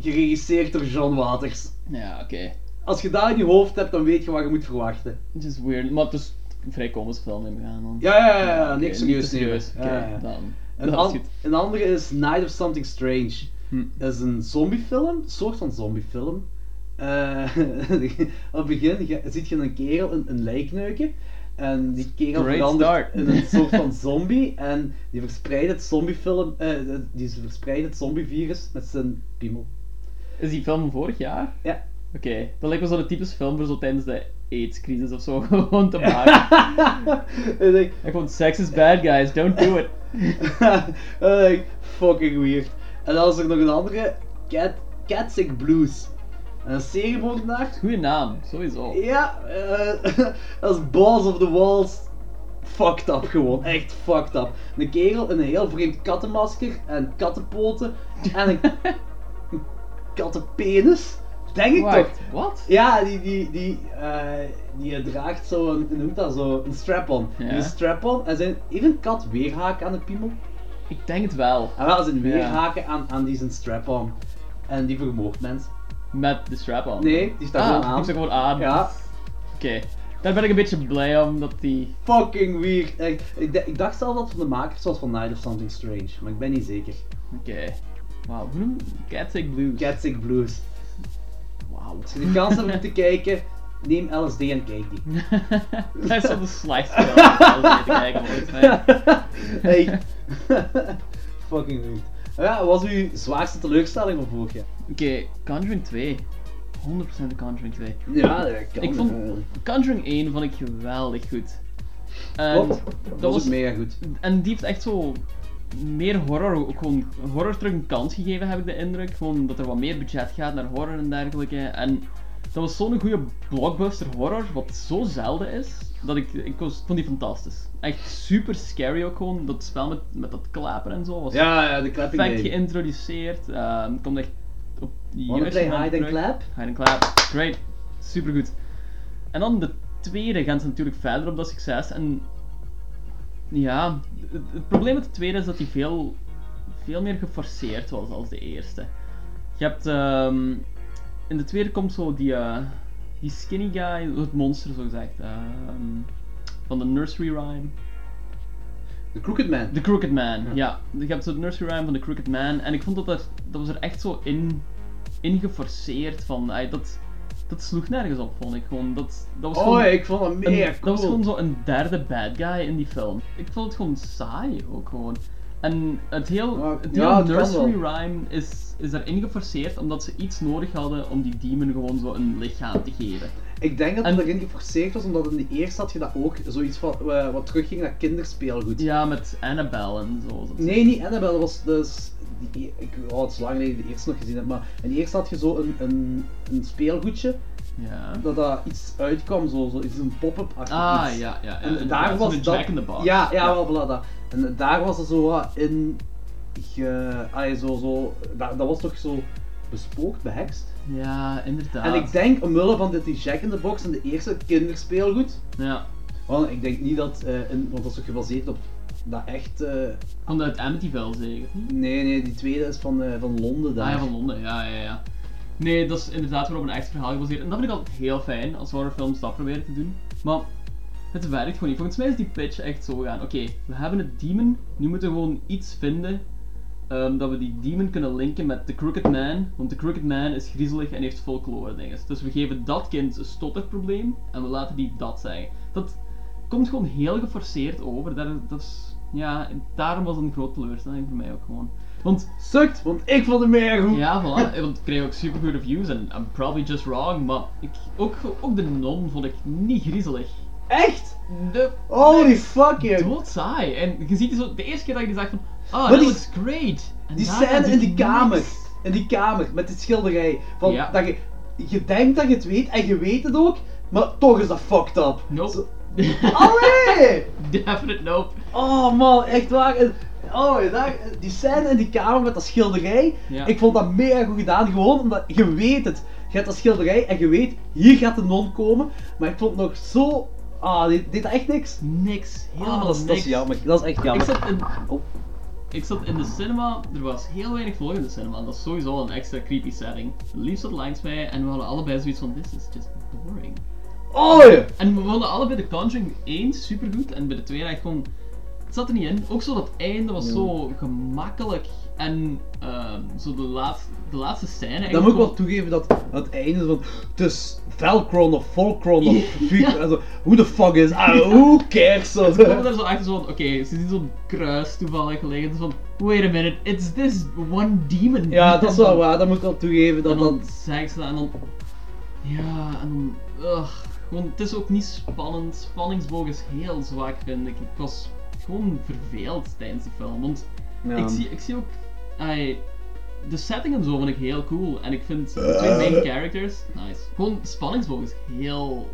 F: geregisseerd door John Waters.
G: Ja, oké.
F: Als je daar in je hoofd hebt, dan weet je wat je moet verwachten.
G: Het is weird, maar het is een vrij komische film neem ik aan dan.
F: Ja, ja, ja, ja,
G: Oké,
F: niks
G: niet te
F: serieus nemen.
G: serieus.
F: Ja,
G: Oké,
F: ja, ja.
G: dan.
F: Een,
G: dat
F: an-
G: is goed.
F: een andere is Night of Something Strange.
G: Hm.
F: Dat is een zombiefilm, een soort van zombiefilm. Eh op het begin ge- ziet je een kerel een, een lijk neuken. En die kerel
G: Great
F: verandert
G: start.
F: in een soort van zombie. En die verspreidt het zombiefilm, eh, die verspreidt het zombievirus met zijn piemel.
G: Is die film van vorig jaar?
F: Ja.
G: Oké, dat lijkt me zo'n typisch film voor zo tijdens de AIDS-crisis of zo gewoon te maken.
F: En ik-
G: Ik vond sex is bad guys, don't do it.
F: Eh, fucking weird. En dan is er nog een andere, Cat, Catsick Blues. En een seriemoordenaar.
G: Goeie naam, sowieso.
F: Ja, eh, als Balls of the Walls. Fucked up gewoon, echt fucked up. Een kerel in een heel vreemd kattenmasker en kattenpoten en een, een kattenpenis, denk ik toch?
G: Wacht, wat?
F: Ja, die, die, die, eh, die eh, draagt zo een, hoe noemt dat zo, een strap-on.
G: Ja.
F: Een strap-on en zijn, heeft een kat weerhaak aan de piemel?
G: Ik denk het wel.
F: En wel zijn
G: Ja.
F: weerhaken aan, aan die zijn strap-on. En die vermoordt mensen.
G: Met de strap-on.
F: Nee, die staat
G: ah,
F: gewoon aan.
G: die staat gewoon aan.
F: Ja.
G: Oké, daar ben ik een beetje blij om dat die...
F: Fucking weird. Echt. Ik, d- ik dacht zelf dat het van de makers was van Night of Something Strange, maar ik ben niet zeker.
G: Oké. Wauw, hoe noem Catsick Blues.
F: Catsick Blues.
G: Wauw.
F: Als je de kans hebt om te kijken, neem LSD en kijk die.
G: Dat is wel de slechtste film om te kijken ooit. hè.
F: hey. Fucking weird. Ja, wat was uw zwaarste teleurstelling van vorig jaar?
G: Oké, Conjuring 2. 100% de Conjuring 2.
F: Ja, dat kan.
G: Ik vond Conjuring 1 vond ik geweldig goed. En
F: Klopt. Dat was ook mega goed.
G: En die heeft echt zo meer horror, ook gewoon horror terug een kans gegeven, heb ik de indruk. Gewoon dat er wat meer budget gaat naar horror en dergelijke. En dat was zo'n goede blockbuster horror, wat zo zelden is, dat ik, ik was- vond die fantastisch. Echt super scary ook gewoon, dat spel met, met dat klapen en zo was
F: Ja, ja, de clapping
G: perfect
F: game.
G: geïntroduceerd. Ehm, het komt echt op de
F: Wanna
G: juiste
F: play
G: moment
F: hide and
G: terug.
F: clap?
G: Hide and clap, great, supergoed. En dan de tweede gaan ze natuurlijk verder op dat succes en ja, het, het probleem met de tweede is dat die veel, veel meer geforceerd was als de eerste. Je hebt, ehm, in de tweede komt zo die, eh, die skinny guy, het monster zo gezegd, ehm, van de nursery rhyme.
F: De Crooked Man.
G: The Crooked Man, ja. Je hebt zo'n nursery rhyme van The Crooked Man. En ik vond dat er, dat was er echt zo in, in geforceerd van. ey, dat, dat sloeg nergens op, vond ik gewoon. Dat, dat was
F: Oh,
G: gewoon
F: ja, ik vond dat
G: een-
F: mega
G: Dat was
F: cool.
G: gewoon zo'n derde bad guy in die film. Ik vond het gewoon saai ook gewoon. En het heel,
F: Maar-
G: het
F: ja,
G: heel
F: het kan
G: nursery rhyme is, is erin geforceerd omdat ze iets nodig hadden om die demon gewoon zo een lichaam te geven.
F: Ik denk dat het
G: En-
F: erin geforceerd was, omdat in de eerste had je dat ook, zoiets van, eh, wat terugging naar kinderspeelgoed.
G: Ja, met Annabelle en zo. Dat-
F: Nee, niet Annabelle, dat was dus... Die, e- ik, oh, het is lang geleden dat ik de eerste nog gezien heb, maar in de eerste had je zo een, een, een speelgoedje,
G: Ja.
F: dat daar iets uitkwam, zo, zo iets, een pop-up achter
G: Ah,
F: iets.
G: ja, ja. ja.
F: En
G: ja,
F: daar
G: zo'n
F: was dat...
G: Jack in the Box.
F: Ja, ja, wel, voilà, dat. En daar was er zo wat in... Ge, ah, zo, zo, dat, dat was toch zo bespookt, behekst?
G: Ja, inderdaad.
F: En ik denk, omwille van dat die Jack in the Box in de eerste kinderspeelgoed,
G: Ja,
F: want ik denk niet dat, eh, in, want dat is toch gebaseerd op dat echt... eh,
G: komt uit Amityville zeker. of niet?
F: nee, nee, die tweede is van, eh, van Londen daar.
G: Ah ja, van Londen, ja, ja, ja. Nee, dat is inderdaad weer op een echt verhaal gebaseerd. En dat vind ik altijd heel fijn als horrorfilms dat proberen te doen. Maar het werkt gewoon niet. Volgens mij is die pitch echt zo gaan. Oké, we hebben het demon. Nu moeten we gewoon iets vinden ehm, dat we die demon kunnen linken met The Crooked Man. Want The Crooked Man is griezelig en heeft folklore dinges. Dus we geven dat kind een stotterprobleem en we laten die dat zeggen. Dat komt gewoon heel geforceerd over. Dat, dat is, ja, daarom was het een groot teleurstelling voor mij ook gewoon. Want
F: Sukt, want ik vond hem mega goed.
G: ja, voilà. Want ik kreeg ook super goede reviews en I'm probably just wrong, maar ik, ook, ook de non vond ik niet griezelig.
F: Echt?
G: De
F: Holy fuck, joh.
G: dood saai. En je ziet zo, de eerste keer dat je zag van, ah,
F: Maar
G: that
F: die-
G: looks great. En
F: Die
G: daarna
F: scène
G: doet
F: in die
G: niks.
F: kamer. In die kamer, met die schilderij. Van,
G: Ja.
F: dat je, je denkt dat je het weet, en je weet het ook, maar toch is dat fucked up.
G: Nope.
F: Zo- Allee!
G: Definite nope.
F: Oh man, echt waar. En- Oh, daar- die scène in die kamer met dat schilderij.
G: Ja.
F: Ik vond dat mega goed gedaan. Gewoon omdat je weet het. Je hebt dat schilderij en je weet, hier gaat de non komen. Maar ik vond het nog zo. Ah, dit deed dat echt niks.
G: Niks. Helemaal
F: Ah, dat, is,
G: niks.
F: dat is jammer. Dat is echt
G: Ik
F: jammer.
G: zat, in,
F: Oh.
G: ik zat in de cinema, er was heel weinig volk in de cinema. en Dat is sowieso al een extra creepy setting. Lief zat langs mij en we hadden allebei zoiets van, this is just boring.
F: Oh, ja.
G: En we vonden allebei de Conjuring 1 super goed en bij de tweede echt gewoon. Het zat er niet in. Ook zo dat einde was zo gemakkelijk. En ehm, zo de, laatste, de laatste scène.
F: Dan
G: eigenlijk
F: moet ik
G: gewoon-
F: wel toegeven dat aan het einde van. Het is Velcron of Volcron of. Vuur- also, Hoe de fuck is. Ah, who cares? Zo.
G: Ze komen daar zo achter, zo van, oké, ze zien zo'n kruis toevallig liggen. Dus van, wait a minute, it's this one demon.
F: Ja, dat is wel waar. Dat moet ik wel toegeven.
G: En
F: Dat,
G: dan
F: dat...
G: zeggen ze dat en dan... Ja, en dan... ugh, gewoon, het is ook niet spannend. Spanningsboog is heel zwak, vind ik. Ik was gewoon verveeld tijdens die film. Want ik, zie, ik zie ook... ai, de setting en zo vond ik heel cool. En ik vind de twee main characters... Nice. Gewoon, spanningsboog is heel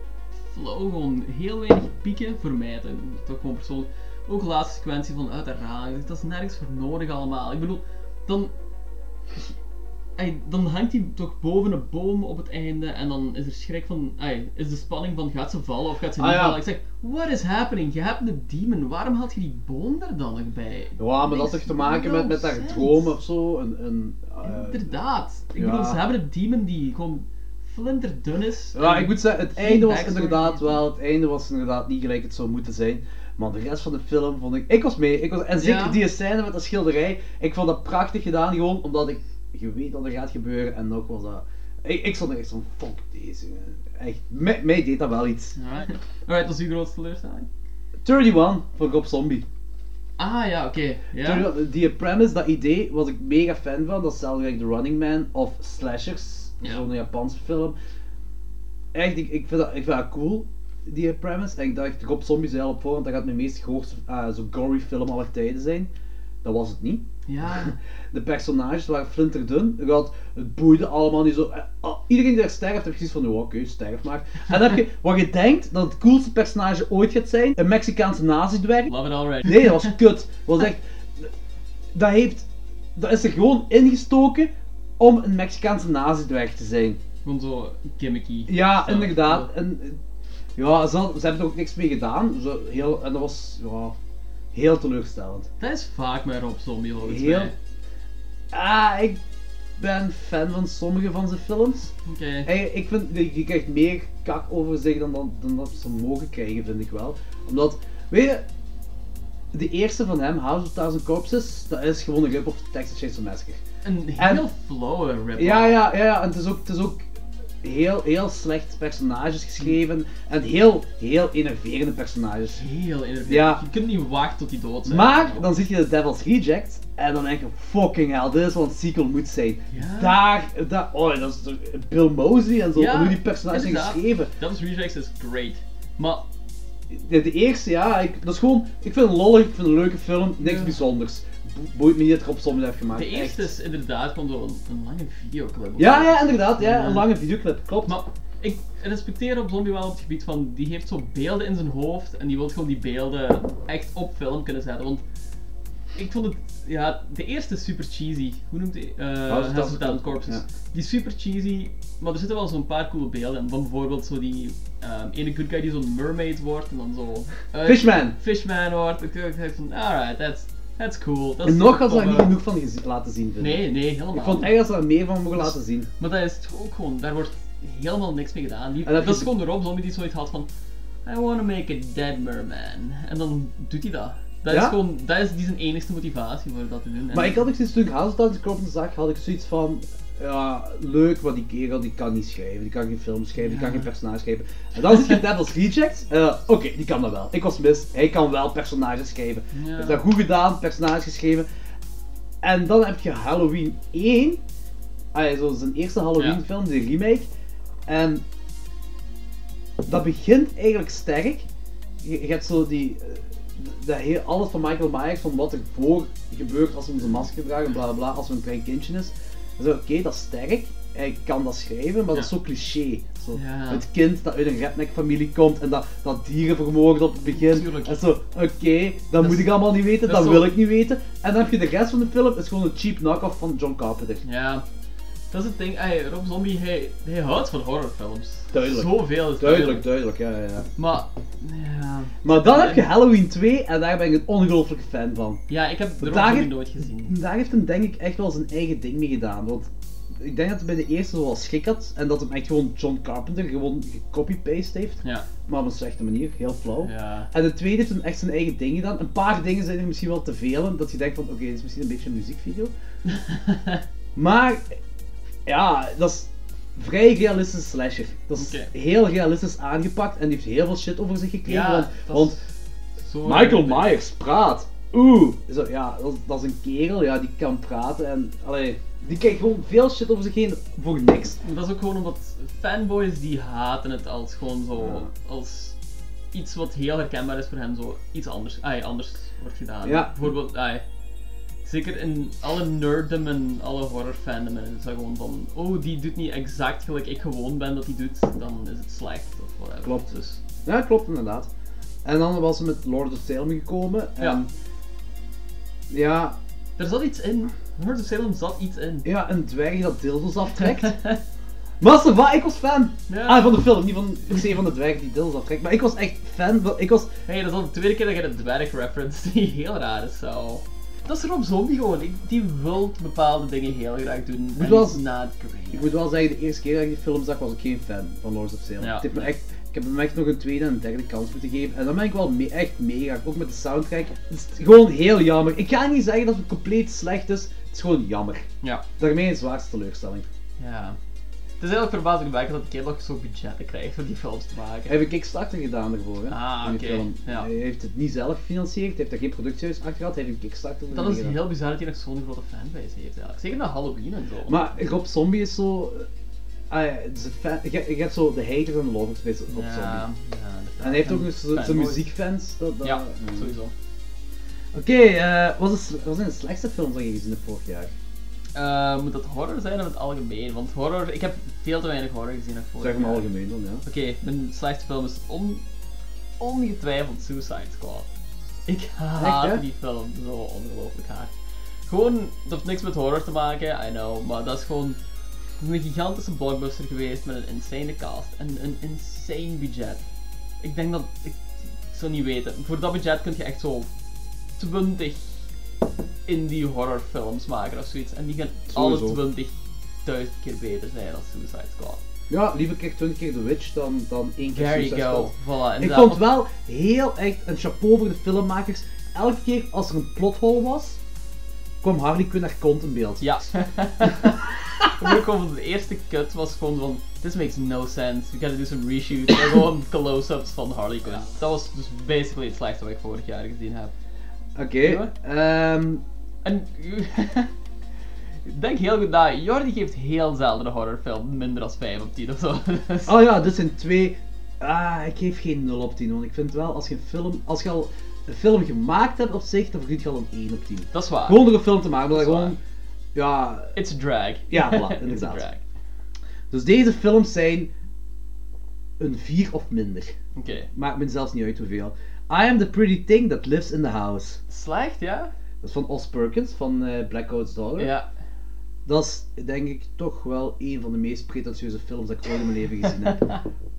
G: flow. Gewoon heel weinig pieken voor mij. Dat dat gewoon persoonlijk... Ook de laatste sequentie van uit de raam. Dat is nergens voor nodig allemaal. Ik bedoel, dan Ai, dan hangt hij toch boven een boom op het einde en dan is er schrik van, ai, is de spanning van gaat ze vallen of gaat ze niet
F: Ah, ja.
G: vallen? Ik zeg, what is happening? Je hebt een demon, waarom had je die boom er dan nog bij?
F: Ja, maar dat
G: Makes
F: heeft te maken
G: no
F: met, met haar
G: sense.
F: dromen of zo. En, en, eh,
G: Inderdaad. Ik
F: ja.
G: bedoel, ze hebben een demon die gewoon flinterdun is.
F: Ja,
G: en-
F: ik moet zeggen, het
G: Geen
F: einde was
G: backstory.
F: inderdaad wel, het einde was inderdaad niet gelijk het zou moeten zijn. Maar de rest van de film vond ik, ik was mee, ik was, en zeker
G: Ja.
F: die scène met dat schilderij, ik vond dat prachtig gedaan gewoon, omdat ik, je weet wat er gaat gebeuren en nog was dat, ik, ik stond er echt van, fuck deze, echt, mij, mij deed dat wel iets.
G: Alright, Alright, dat is uw grootste teleurstelling.
F: 31 van Rob Zombie.
G: Ah ja, oké. Ja.
F: 31 Die premise, dat idee, was ik mega fan van, dat is zelfs gelijk The Running Man of Slashers,
G: Ja.
F: zo'n Japanse film. echt, ik, ik, vind dat, ik vind dat cool, die premise. En ik dacht, Rob Zombie zei al op voorhand, dat gaat mijn meest grootste, eh, zo gory film aller tijden zijn. Dat was het niet.
G: Ja.
F: De personages waren flinterdun. Er had- Het boeide allemaal niet zo. eh, ah, Iedereen die daar sterft, heb precies van, oh, oké, sterf maar. En dan heb je wat je denkt dat het coolste personage ooit gaat zijn, een Mexicaanse nazi-dwerg.
G: Love it already.
F: Nee, dat was kut. Dat was echt... Dat heeft... Dat is er gewoon ingestoken om een Mexicaanse nazi-dwerg te zijn.
G: Gewoon zo gimmicky.
F: Ja,
G: stuff.
F: inderdaad. En, eh, ja, ze, had- ze hebben er ook niks mee gedaan. Zo, heel, en dat was ja, heel teleurstellend.
G: Dat is vaak met Rob Zombie, volgens
F: Heel-
G: mij.
F: Ah, ik ben fan van sommige van zijn films.
G: Oké.
F: Hij- ik vind, je je krijgt meer kak over zich dan, dan, dan dat ze mogen krijgen, vind ik wel. Omdat, weet je, de eerste van hem, House of Thousand Corpses, dat is gewoon een rip-off van Texas Chainsaw Massacre.
G: Een
F: En-
G: heel flowe rip-off.
F: Ja, ja, ja, ja, en het is ook, het is ook heel, heel slecht personages geschreven en heel, heel enerverende personages.
G: Heel enerverend.
F: Ja.
G: Je kunt niet wachten tot die dood zijn.
F: Maar dan zit je de Devil's Reject en dan denk je: fucking hell, dit is wat een sequel moet zijn.
G: Ja.
F: Daar, daar, oh, dat is toch Bill Moseley en zo,
G: Ja,
F: hoe die personages zijn
G: inderdaad.
F: geschreven.
G: Dat is Rejects is great. Maar
F: De, de eerste, ja, ik, dat is gewoon, ik vind het lollig, ik vind het een leuke film, niks
G: Ja.
F: bijzonders. Bo- Boeit me niet dat Rob Zombie dat heeft gemaakt.
G: de eerste
F: echt.
G: is inderdaad van zo'n een lange videoclip. of
F: Ja,
G: zo.
F: ja, inderdaad, ja,
G: Ja.
F: een lange videoclip, klopt.
G: Maar ik respecteer op Zombie wel op het gebied van die heeft zo beelden in zijn hoofd en die wil gewoon die beelden echt op film kunnen zetten. Want ik vond het, ja, de eerste is super cheesy. Hoe noemt hij? eh
F: House of
G: House of Thousand
F: Thousand
G: Corpses.
F: Corpses,
G: Die is super cheesy, maar er zitten wel zo'n paar coole beelden in. Van bijvoorbeeld zo die ehm, ene good guy die zo'n mermaid wordt en dan zo. uit-
F: Fishman!
G: Fishman wordt. Ik dacht van, alright, that's, that's cool. Dat is
F: En nog had ze
G: tof,
F: daar niet
G: eh.
F: genoeg van gezi- laten zien, vind ik.
G: Nee, nee, helemaal
F: Ik vond
G: niet.
F: echt dat ze daar meer van mogen laten zien.
G: Maar dat is toch ook gewoon, daar wordt helemaal niks mee gedaan. Die,
F: En
G: dat
F: dat
G: is
F: je-
G: gewoon de Rob Zombie die zoiets had van, I wanna make a dead merman. En dan doet hij dat. Dat is
F: Ja?
G: gewoon, dat is die zijn enigste motivatie voor dat te doen. En-
F: Maar ik had ook sinds toen ik Hazeltans Corpus zag, had ik zoiets van... Ja, leuk, maar die kerel die kan niet schrijven, die kan geen film schrijven, die kan geen personage schrijven. En dan zit je Devil's Reject, eh, oké, die kan dat wel. Ik was mis, hij kan wel personages schrijven.
G: Ja.
F: Hij heeft dat goed gedaan, personages geschreven. En dan heb je Halloween 1, ah, ja, zo zijn eerste Halloween
G: Ja.
F: film, die remake. En dat begint eigenlijk sterk, je, je hebt zo die. eh, Dat heel, alles van Michael Myers, van wat er voor gebeurt als we onze masker dragen, bla bla bla, als we een klein kindje is. Dan zo, oké, dat is sterk. Hij kan dat schrijven, maar dat
G: Ja.
F: is zo cliché. Zo,
G: Ja.
F: Het kind dat uit een redneck-familie komt en dat, dat dieren vermoordt op het begin.
G: Tuurlijk.
F: En zo, oké, dat, moet
G: is-
F: ik allemaal niet weten,
G: dat
F: dat,
G: is zo-
F: wil ik niet weten. En dan heb je de rest van de film, is gewoon een cheap knock-off van John Carpenter.
G: Ja. Dat is het ding, ey, Rob Zombie, hij, hij houdt van horrorfilms.
F: Duidelijk.
G: Zoveel is
F: Duidelijk, duidelijk, ja, ja, ja.
G: Maar, ja.
F: Maar dan heb je Halloween 2 en daar ben ik een ongelooflijke fan van.
G: Ja, ik heb de Rob
F: Daar-
G: Zombie nooit gezien.
F: Daar heeft hem denk ik echt wel zijn eigen ding mee gedaan. Want ik denk dat hij bij de eerste wel schrik had en dat hem echt gewoon John Carpenter gewoon gecopy-paste heeft.
G: Ja.
F: Maar op een slechte manier, heel flauw.
G: Ja.
F: En de tweede heeft hem echt zijn eigen ding gedaan. Een paar dingen zijn er misschien wel te veel. Dat je denkt van oké, dit is misschien een beetje een muziekvideo. maar ja, dat is vrij realistische slasher. Dat is
G: Oké.
F: heel realistisch aangepakt en die heeft heel veel shit over zich gekregen.
G: Ja,
F: want-
G: dat is
F: want
G: zo
F: Michael Myers praat. Oeh. Zo, ja, dat, dat is een kerel, ja, die kan praten en, allee, die kijkt gewoon veel shit over zich heen voor niks.
G: Maar Dat is ook gewoon omdat fanboys die haten het als gewoon zo, als iets wat heel herkenbaar is voor hen, zo iets anders, ai, anders wordt gedaan.
F: Ja.
G: Bijvoorbeeld, ai, zeker in alle nerddom en alle horror fandom is dat gewoon van, oh die doet niet exact gelijk ik gewoon ben dat die doet, dan is het slecht of whatever.
F: Klopt.
G: Dus,
F: Ja, klopt inderdaad. En dan was ze met Lord of Salem gekomen en...
G: Ja.
F: Ja,
G: er zat iets in, Lord of Salem zat iets in.
F: ja, een dwerg dat dildos aftrekt. Maar ça va, ik was fan
G: Ja.
F: ah, van de film, niet van, per se van de dwerg die dildos aftrekt, maar ik was echt fan van, ik was,
G: hey, dat is al de tweede keer dat je de dwerg reference die heel raar is zo. Dat is Rob Zombie gewoon, Ik- die wil bepaalde dingen heel graag doen.
F: Moet
G: en
F: wel-
G: is not great.
F: ik moet wel zeggen, de eerste keer dat ik die film zag was ik geen fan van Lord of Salem.
G: Ja.
F: Het heeft me echt, ik heb hem echt nog een tweede en een derde kans moeten geven en dan ben ik wel me- echt mega, ook met de soundtrack. Het is gewoon heel jammer. Ik ga niet zeggen dat het compleet slecht is, het is gewoon jammer.
G: Ja.
F: Daarmee een zwaarste teleurstelling.
G: Ja. Het is eigenlijk verbazingwekkend dat de kerel ook zo'n budgetten krijgt om die films te maken.
F: Hij heeft een kickstarter gedaan daarvoor. Hè,
G: Ah,
F: van die
G: oké,
F: film.
G: ja.
F: Hij heeft het niet zelf gefinancierd, hij heeft daar geen productiehuis achter gehad, hij heeft een kickstarter
G: Dat
F: ermee
G: is
F: gedaan.
G: heel bizar dat hij nog zo'n grote fanbase heeft eigenlijk. Zeker na Halloween en zo.
F: Maar Rob Zombie is zo. ah ja, het is een fan- je, je hebt zo de haters en de lovers bij Rob
G: ja,
F: Zombie.
G: ja,
F: En hij heeft ook nog zo- zijn
G: fanboys.
F: muziekfans. Dat, dat-
G: Ja,
F: mm.
G: sowieso.
F: Oké, eh, wat, is, wat zijn de slechtste films dat je gezien hebt vorig jaar?
G: Eh, moet dat horror zijn of het algemeen? Want horror, ik heb veel te weinig horror gezien nog vorig
F: Zeg maar
G: jaar.
F: algemeen dan, ja.
G: Oké, mijn slechtste film is on- ongetwijfeld Suicide Squad. Ik haat
F: hè?
G: die film zo ongelooflijk hard. Gewoon, dat heeft niks met horror te maken, I know, maar dat is gewoon een gigantische blockbuster geweest met een insane cast en een insane budget. Ik denk dat, ik, ik zou niet weten, voor dat budget kun je echt zo 20 indie horrorfilms maken of zoiets en die gaan
F: Sowieso.
G: alle 20.000 keer beter zijn dan Suicide Squad.
F: Ja, liever kijk 20 keer The Witch dan, dan één keer
G: There you
F: Suicide
G: go.
F: Squad.
G: Voilà,
F: Ik
G: inderdaad.
F: vond wel heel echt een chapeau voor de filmmakers. Elke keer als er een plothol was, kwam Harley Quinn haar kont in beeld.
G: Ja. Maar ook gewoon de eerste cut was gewoon van, this makes no sense, we gotta do some reshoot. En gewoon close-ups van Harley Quinn. Dat was dus basically het slechtste wat ik vorig jaar gezien heb.
F: Oké, ehm,
G: En denk heel goed na, Jordi geeft heel zelden een horrorfilm minder dan 5 op 10 of zo. Dus-
F: Oh ja, dit zijn twee. Ah, ik geef geen 0 op 10, want ik vind wel als je een film. Als je al een film gemaakt hebt op zich, dan verdient je al een 1 op 10.
G: Dat is waar.
F: Gewoon door een film te maken, maar
G: Dat
F: dat
G: is
F: gewoon. Ja,
G: It's a drag.
F: Ja, voilà,
G: It's a
F: inderdaad.
G: drag.
F: dus deze films zijn. een 4 of minder.
G: Oké.
F: Maakt me zelfs niet uit hoeveel. I am the pretty thing that lives in the house.
G: Slecht, ja?
F: Dat is van Os Perkins, van eh Blackout's Daughter.
G: Ja.
F: Dat is denk ik toch wel een van de meest pretentieuze films dat ik ooit in mijn leven gezien heb.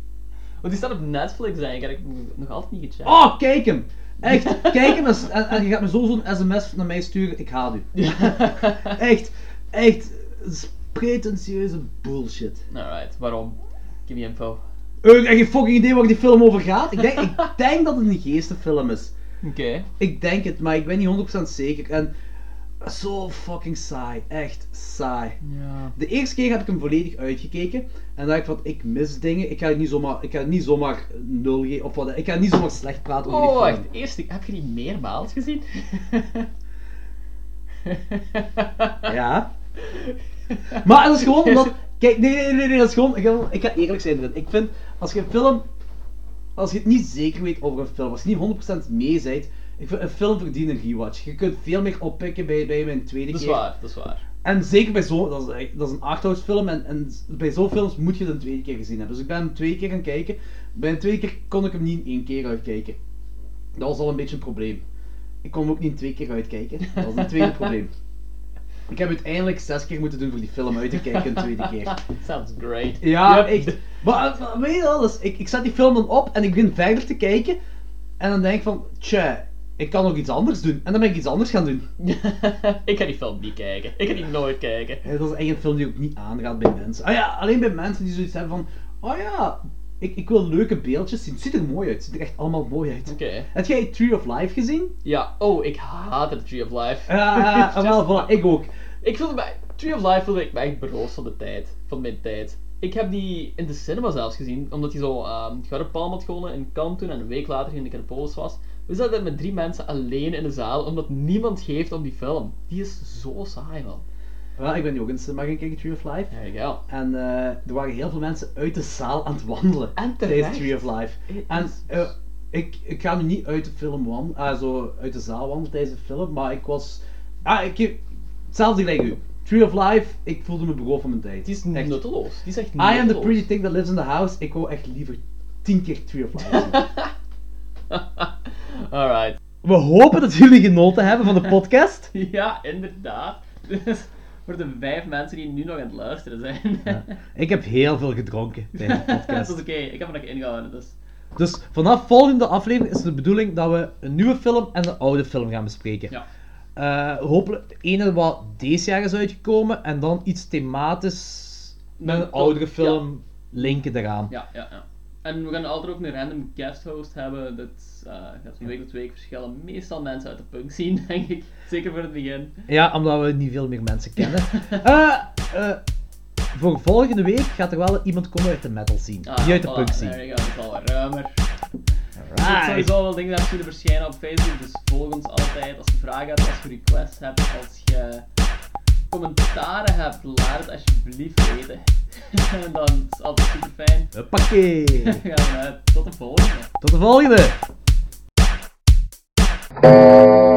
G: Want die staat op Netflix eigenlijk, ik heb nog altijd niet gecheckt.
F: Oh, kijk hem! Echt, kijk hem eens. En, en je gaat me zo zo'n sms naar mij sturen, ik haat u. Echt, echt, dat is pretentieuze bullshit.
G: Alright, waarom? Give me info.
F: Eh, Ik heb geen fucking idee waar die film over gaat. Ik denk, ik denk dat het een geestenfilm is.
G: Oké.
F: Ik denk het, maar ik ben niet 100% zeker. En zo fucking saai, echt saai.
G: Ja.
F: De eerste keer heb ik hem volledig uitgekeken en dacht ik van, ik mis dingen. Ik ga het niet zomaar, ik ga het niet zomaar nul geven, of wat, ik ga niet zomaar slecht praten over
G: Oh,
F: die film.
G: wacht. Eerst, heb je die meermaals gezien?
F: Ja. Maar dat is gewoon omdat. Kijk, nee, nee, nee, nee, dat is gewoon. Ik ga, ik ga eerlijk zijn, Rin. Ik vind als je een film. oké, als je het niet zeker weet over een film, als je niet 100% mee bent, ik vind, een film verdient een rewatch. Je kunt veel meer oppikken bij, bij mijn tweede
G: Dat is
F: keer.
G: waar, dat is waar.
F: En zeker bij zo'n, dat is, echt- dat is een arthouse film en, en bij zo'n films moet je het een tweede keer gezien hebben. Dus ik ben hem twee keer gaan kijken. Bij een tweede keer kon ik hem niet in één keer uitkijken. Dat was al een beetje een probleem. Ik kon hem ook niet in twee keer uitkijken. Dat was een tweede probleem. Ik heb uiteindelijk zes keer moeten doen voor die film uit te kijken een tweede keer.
G: Sounds great.
F: Ja,
G: Yep.
F: echt. Maar, maar weet je wel, dus ik, ik zet die film dan op en ik begin verder te kijken. En dan denk ik van, tja, ik kan nog iets anders doen. En dan ben ik iets anders gaan doen.
G: ik ga die film niet kijken. Ik ga die nooit kijken.
F: Ja, Eh, dat is echt een film die ook niet aanraadt bij mensen. Ah ja, alleen bij mensen die zoiets hebben van, oh ja, ik, ik wil leuke beeldjes zien. Het ziet er mooi uit. Het ziet er echt allemaal mooi uit.
G: Oké.
F: Heb jij Tree of Life gezien?
G: Ja, oh, ik haat het Tree of Life.
F: Ja,
G: It's
F: ja,
G: just-
F: wel, voilà, ik ook.
G: Ik voelde mij... Tree of Life voelde ik me echt beroofd van de tijd. Van mijn tijd. Ik heb die in de cinema zelfs gezien, omdat hij zo ehm Gouden Palm had gewonnen in Cannes toen en een week later toen ik in Polis was. We zaten met drie mensen alleen in de zaal, omdat niemand geeft om die film. Die is zo saai, man.
F: Ja, ik ben nu ook in de cinema gaan kijken, Tree of Life.
G: There you go.
F: En eh, er waren heel veel mensen uit de zaal aan het wandelen
G: En
F: tijdens
G: terecht.
F: Tree of Life.
G: Het
F: En
G: is-
F: eh, ik, ik ga nu niet uit de film wandelen, ah, zo uit de zaal wandelen tijdens de film, maar ik was... Ah, ik, hetzelfde gelijk u. Tree of Life, ik voelde me beroofd van mijn tijd.
G: Die is
F: Echt.
G: nutteloos. Die is echt
F: I am the
G: nutteloos.
F: pretty thing that lives in the house. Ik wou echt liever tien keer Tree of Life zien.
G: Alright.
H: We hopen dat jullie genoten hebben van de podcast.
G: Ja, inderdaad. Dus voor de vijf mensen die nu nog aan het luisteren zijn.
H: Ik heb heel veel gedronken tijdens de
G: dat is
H: podcast.
G: oké, ik heb er nog ingehouden. Dus.
H: Dus vanaf volgende aflevering is de bedoeling dat we een nieuwe film en een oude film gaan bespreken.
G: Ja.
H: Eh, hopelijk de ene wat deze jaar is uitgekomen en dan iets thematisch met een oudere film linken eraan.
G: Ja, ja, ja. En we gaan altijd ook een random guest host hebben. Dat eh, gaat van week tot week verschillen. Meestal mensen uit de punk zien, denk ik. Zeker voor het begin. Ah,
H: Ja, omdat we niet veel meer mensen kennen. Eh, eh, voor volgende week gaat er wel iemand komen uit de metal scene.
G: Ah,
H: die uit de
G: voilà,
H: punk scene.
G: There you go, dat is al wat ruimer. Er zullen sowieso wel dingen zullen verschijnen op Facebook. Dus volg ons altijd als je vragen hebt, als je requests hebt, als je commentaren hebt, laat het alsjeblieft weten. Dan is het altijd super fijn.
H: Hoppakee.
G: Gaan we uit. Tot de volgende.
H: Tot de volgende!
I: Bye.